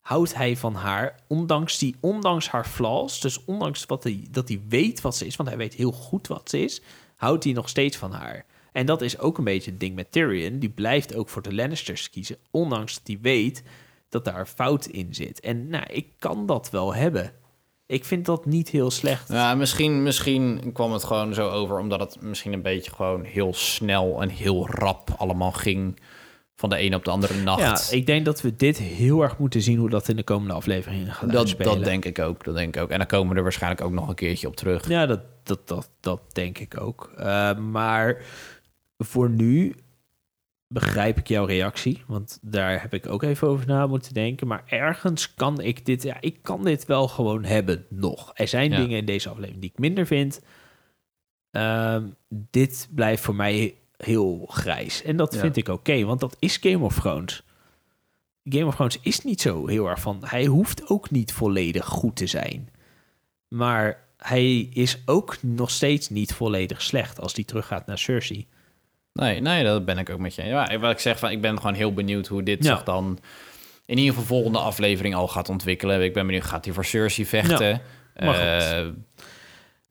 Speaker 3: houdt hij van haar, ondanks, die, ondanks haar flaws, dus ondanks wat hij, dat hij weet wat ze is, want hij weet heel goed wat ze is, houdt hij nog steeds van haar. En dat is ook een beetje het ding met Tyrion. Die blijft ook voor de Lannisters kiezen, ondanks dat hij weet dat daar fout in zit. En nou, ik kan dat wel hebben. Ik vind dat niet heel slecht.
Speaker 1: Ja, misschien, misschien kwam het gewoon zo over, omdat het misschien een beetje gewoon heel snel en heel rap allemaal ging. Van de een op de andere nacht.
Speaker 3: Ja, ik denk dat we dit heel erg moeten zien hoe dat in de komende afleveringen gaat
Speaker 1: dat,
Speaker 3: uitspelen.
Speaker 1: dat denk ik ook, dat denk ik ook. En dan komen we er waarschijnlijk ook nog een keertje op terug.
Speaker 3: Ja, dat, dat, dat, dat denk ik ook. Eh, maar voor nu begrijp ik jouw reactie. Want daar heb ik ook even over na moeten denken. Maar ergens kan ik dit... Ja, ik kan dit wel gewoon hebben nog. Er zijn
Speaker 1: Ja.
Speaker 3: dingen in deze aflevering die ik minder vind. Ehm, dit blijft voor mij heel grijs. En dat
Speaker 1: Ja.
Speaker 3: vind ik oké, want dat is Game of Thrones. Game of Thrones is niet zo heel erg van... Hij hoeft ook niet volledig goed te zijn. Maar hij is ook nog steeds niet volledig slecht... als hij teruggaat naar Cersei.
Speaker 1: Nee, nee, dat ben ik ook met je. Ja, wat ik zeg, van, ik ben gewoon heel benieuwd hoe dit
Speaker 3: Ja.
Speaker 1: zich dan in ieder geval volgende aflevering al gaat ontwikkelen. Ik ben benieuwd, gaat hij voor Cersei vechten?
Speaker 3: maar
Speaker 1: Eh,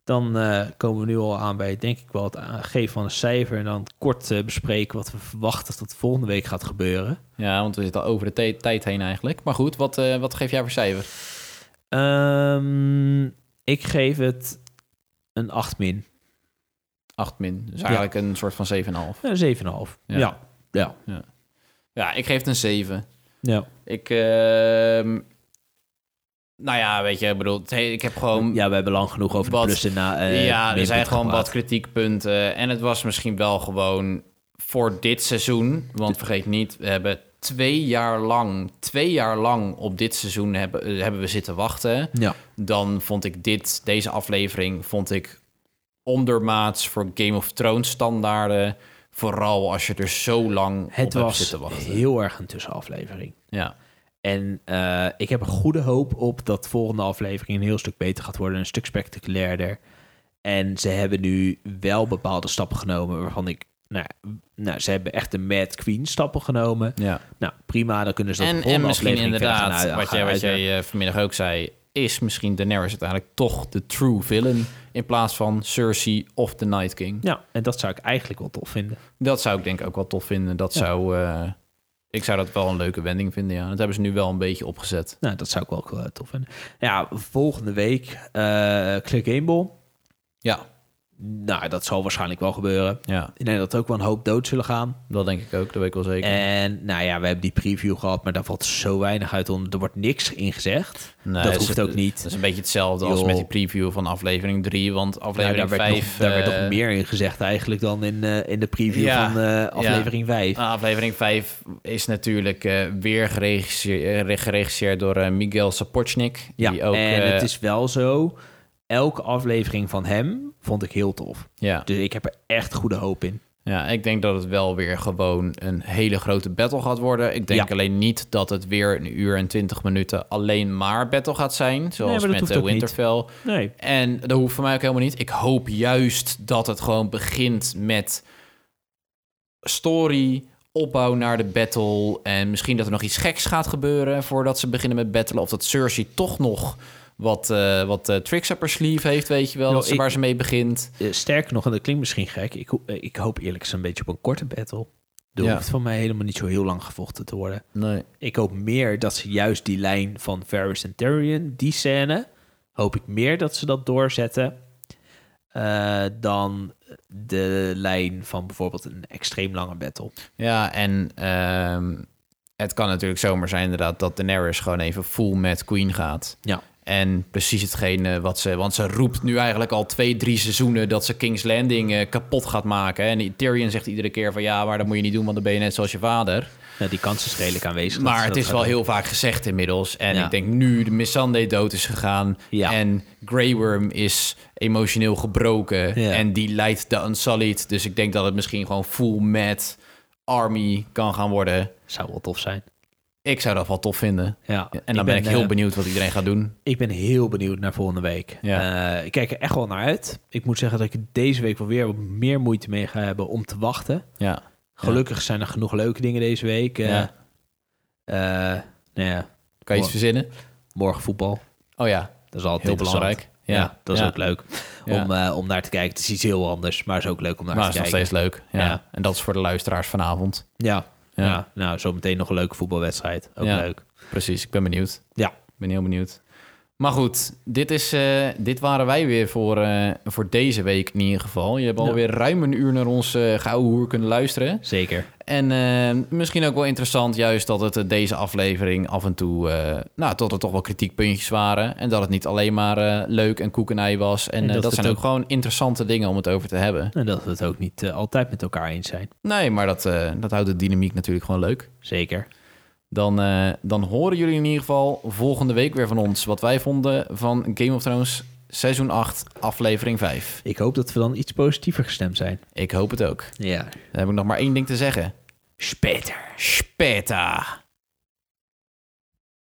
Speaker 3: Dan eh, komen we nu al aan bij, denk ik wel, het geven van een cijfer. En dan kort eh, bespreken wat we verwachten dat volgende week gaat gebeuren.
Speaker 1: ja, want we zitten al over de te- tijd heen eigenlijk. Maar goed, wat, eh, wat geef jij voor cijfer?
Speaker 3: Ehm, ik geef het een 8 min.
Speaker 1: 8 min. Dus eigenlijk een soort van 7,5.
Speaker 3: Eh, Een 7,5.
Speaker 1: Ja.
Speaker 3: Ja. Ja.
Speaker 1: Ja, ik geef het een 7.
Speaker 3: Ja.
Speaker 1: Ik, ehm, nou ja, weet je, ik bedoel, het he- ik heb gewoon...
Speaker 3: ja, we hebben lang genoeg over
Speaker 1: Wat-
Speaker 3: de plussen na. eh,
Speaker 1: ja, er
Speaker 3: minpunt
Speaker 1: zijn gewoon
Speaker 3: gepraat.
Speaker 1: wat kritiekpunten. En het was misschien wel gewoon voor dit seizoen. Want vergeet niet, we hebben twee jaar lang, twee jaar lang op dit seizoen hebben, eh, hebben we zitten wachten.
Speaker 3: Ja.
Speaker 1: Dan vond ik dit, deze aflevering, vond ik ondermaats voor Game of Thrones standaarden. Vooral als je er zo lang op
Speaker 3: Het
Speaker 1: hebt
Speaker 3: was
Speaker 1: zitten wachten.
Speaker 3: heel erg een tussenaflevering.
Speaker 1: Ja.
Speaker 3: En eh, ik heb een goede hoop op dat de volgende aflevering een heel stuk beter gaat worden. Een stuk spectaculairder. En ze hebben nu wel bepaalde stappen genomen waarvan ik... Nou, ja, nou, ze hebben echt de Mad Queen stappen genomen.
Speaker 1: ja.
Speaker 3: Nou, prima, dan kunnen ze dat
Speaker 1: En,
Speaker 3: de
Speaker 1: en
Speaker 3: volgende
Speaker 1: misschien
Speaker 3: aflevering verder
Speaker 1: inderdaad,
Speaker 3: gaan uit-
Speaker 1: wat
Speaker 3: gaan
Speaker 1: jij, wat
Speaker 3: uitwerken.
Speaker 1: jij eh, vanmiddag ook zei, is misschien Daenerys uiteindelijk toch de true villain in plaats van Cersei of de Night King.
Speaker 3: Ja, en dat zou ik eigenlijk wel tof vinden.
Speaker 1: Dat zou ik denk ik ook wel tof vinden. Dat zou, eh, ik zou dat wel een leuke wending vinden, ja. Dat hebben ze nu wel een beetje opgezet.
Speaker 3: Nou, dat zou ik wel ook, eh, tof vinden. Ja, volgende week eh Click Gamble.
Speaker 1: Ja,
Speaker 3: Nou, dat zal waarschijnlijk wel gebeuren.
Speaker 1: ja
Speaker 3: Ik denk dat er ook wel een hoop dood zullen gaan.
Speaker 1: dat denk ik ook. Dat weet ik wel zeker.
Speaker 3: En nou ja, we hebben die preview gehad, maar daar valt zo weinig uit. om- Er wordt niks in gezegd. dat
Speaker 1: eh, is-
Speaker 3: hoeft ook niet.
Speaker 1: Dat is een beetje hetzelfde als
Speaker 3: Joh.
Speaker 1: met die preview van aflevering 3. Want
Speaker 3: Nou,
Speaker 1: aflevering
Speaker 3: daar werd,
Speaker 1: 5...
Speaker 3: nog, daar werd
Speaker 1: eh,
Speaker 3: nog meer in gezegd eigenlijk dan in, eh, in de preview
Speaker 1: Ja,
Speaker 3: van eh, aflevering 5.
Speaker 1: Nou, Aflevering 5 is natuurlijk eh, weer geregisseerd, geregisseerd door eh, Miguel Sapochnik.
Speaker 3: Ja,
Speaker 1: die ook,
Speaker 3: en het
Speaker 1: eh,
Speaker 3: is wel zo. Elke aflevering van hem vond ik heel tof.
Speaker 1: ja,
Speaker 3: Dus ik heb er echt goede hoop in.
Speaker 1: ja, ik denk dat het wel weer gewoon een hele grote battle gaat worden. Ik denk
Speaker 3: Ja.
Speaker 1: alleen niet dat het weer een uur en twintig minuten alleen maar battle gaat zijn.
Speaker 3: maar
Speaker 1: Zoals
Speaker 3: dat
Speaker 1: met
Speaker 3: hoeft
Speaker 1: de
Speaker 3: ook niet.
Speaker 1: Winterfell.
Speaker 3: Nee.
Speaker 1: En dat hoeft voor mij ook helemaal niet. Ik hoop juist dat het gewoon begint met story, opbouw naar de battle. En misschien dat er nog iets geks gaat gebeuren voordat ze beginnen met battlen. Of dat Cersei toch nog wat, eh, wat eh, tricks up her sleeve heeft, weet je wel.
Speaker 3: Nou,
Speaker 1: dat ze-
Speaker 3: ik-
Speaker 1: Waar ze mee begint.
Speaker 3: Eh, sterker nog, en dat klinkt misschien gek. Ik, ho- eh, ik hoop eerlijk gezegd een beetje op een korte battle. Er
Speaker 1: Ja.
Speaker 3: hoeft van mij helemaal niet zo heel lang gevochten te worden.
Speaker 1: Nee.
Speaker 3: Ik hoop meer dat ze juist die lijn van Varys en Tyrion, die scène, hoop ik meer dat ze dat doorzetten eh, dan de lijn van bijvoorbeeld een extreem lange battle.
Speaker 1: Ja, en ehm, het kan natuurlijk zomaar zijn inderdaad dat Daenerys gewoon even full met Queen gaat.
Speaker 3: Ja.
Speaker 1: En precies hetgene wat ze... Want ze roept nu eigenlijk al twee, drie seizoenen... dat ze King's Landing eh, kapot gaat maken. hè. En Tyrion zegt iedere keer van... ja, maar dat moet je niet doen, want dan ben je net zoals je vader.
Speaker 3: Nou, die kans is redelijk aanwezig. dat
Speaker 1: Maar
Speaker 3: ze
Speaker 1: het
Speaker 3: dat
Speaker 1: is
Speaker 3: gaan
Speaker 1: wel
Speaker 3: doen.
Speaker 1: heel vaak gezegd inmiddels. En
Speaker 3: Ja.
Speaker 1: ik denk nu de Missandei dood is gegaan.
Speaker 3: Ja.
Speaker 1: En Grey Worm is emotioneel gebroken.
Speaker 3: Ja.
Speaker 1: En die leidt de Unsullied. Dus ik denk dat het misschien gewoon full mad army kan gaan worden.
Speaker 3: Zou wel tof zijn.
Speaker 1: Ik zou dat wel tof vinden.
Speaker 3: Ja.
Speaker 1: En dan ben, ik heel
Speaker 3: eh,
Speaker 1: benieuwd wat iedereen gaat doen.
Speaker 3: Ik ben heel benieuwd naar volgende week.
Speaker 1: Ja.
Speaker 3: Eh, ik kijk er echt wel naar uit. Ik moet zeggen dat ik er deze week wel weer wat meer moeite mee ga hebben om te wachten.
Speaker 1: Ja.
Speaker 3: Gelukkig zijn er genoeg leuke dingen deze week. Eh,
Speaker 1: Ja.
Speaker 3: eh, nou ja,
Speaker 1: Kan je iets verzinnen?
Speaker 3: morgen voetbal.
Speaker 1: Oh ja,
Speaker 3: Dat is altijd
Speaker 1: heel
Speaker 3: interessant.
Speaker 1: belangrijk.
Speaker 3: Ja, dat is
Speaker 1: Ja.
Speaker 3: ook leuk
Speaker 1: Ja.
Speaker 3: om, eh, om naar te kijken. Het is iets heel anders, maar is ook leuk om naar
Speaker 1: Maar het
Speaker 3: te
Speaker 1: is nog
Speaker 3: Nou, kijken.
Speaker 1: steeds leuk. Ja.
Speaker 3: Ja.
Speaker 1: En dat is voor de luisteraars vanavond.
Speaker 3: Ja. Ja.
Speaker 1: Ja.
Speaker 3: nou zometeen nog een leuke voetbalwedstrijd. Ook
Speaker 1: Ja.
Speaker 3: leuk.
Speaker 1: Precies, ik ben benieuwd.
Speaker 3: Ja,
Speaker 1: Ik ben heel benieuwd. Maar goed, dit, is, eh, dit waren wij weer voor, eh, voor deze week in ieder geval. Je hebt alweer ruim een uur naar ons eh gouden hoer kunnen luisteren.
Speaker 3: zeker.
Speaker 1: En eh, misschien ook wel interessant juist dat het eh, deze aflevering af en toe... eh, nou, tot er toch wel kritiekpuntjes waren. En dat het niet alleen maar eh, leuk en koekenij was. En,
Speaker 3: En
Speaker 1: eh,
Speaker 3: dat
Speaker 1: dat,
Speaker 3: het
Speaker 1: zijn ook...
Speaker 3: ook-
Speaker 1: gewoon interessante dingen om het over te hebben.
Speaker 3: En dat we het ook niet eh, altijd met elkaar eens zijn.
Speaker 1: Nee, maar dat, eh, dat houdt de dynamiek natuurlijk gewoon leuk.
Speaker 3: Zeker.
Speaker 1: Dan, eh, dan horen jullie in ieder geval volgende week weer van ons wat wij vonden van Game of Thrones seizoen 8, aflevering 5.
Speaker 3: Ik hoop dat we dan iets positiever gestemd zijn.
Speaker 1: Ik hoop het ook.
Speaker 3: Ja.
Speaker 1: Dan heb ik nog maar één ding te zeggen.
Speaker 3: Speter.
Speaker 1: Speta!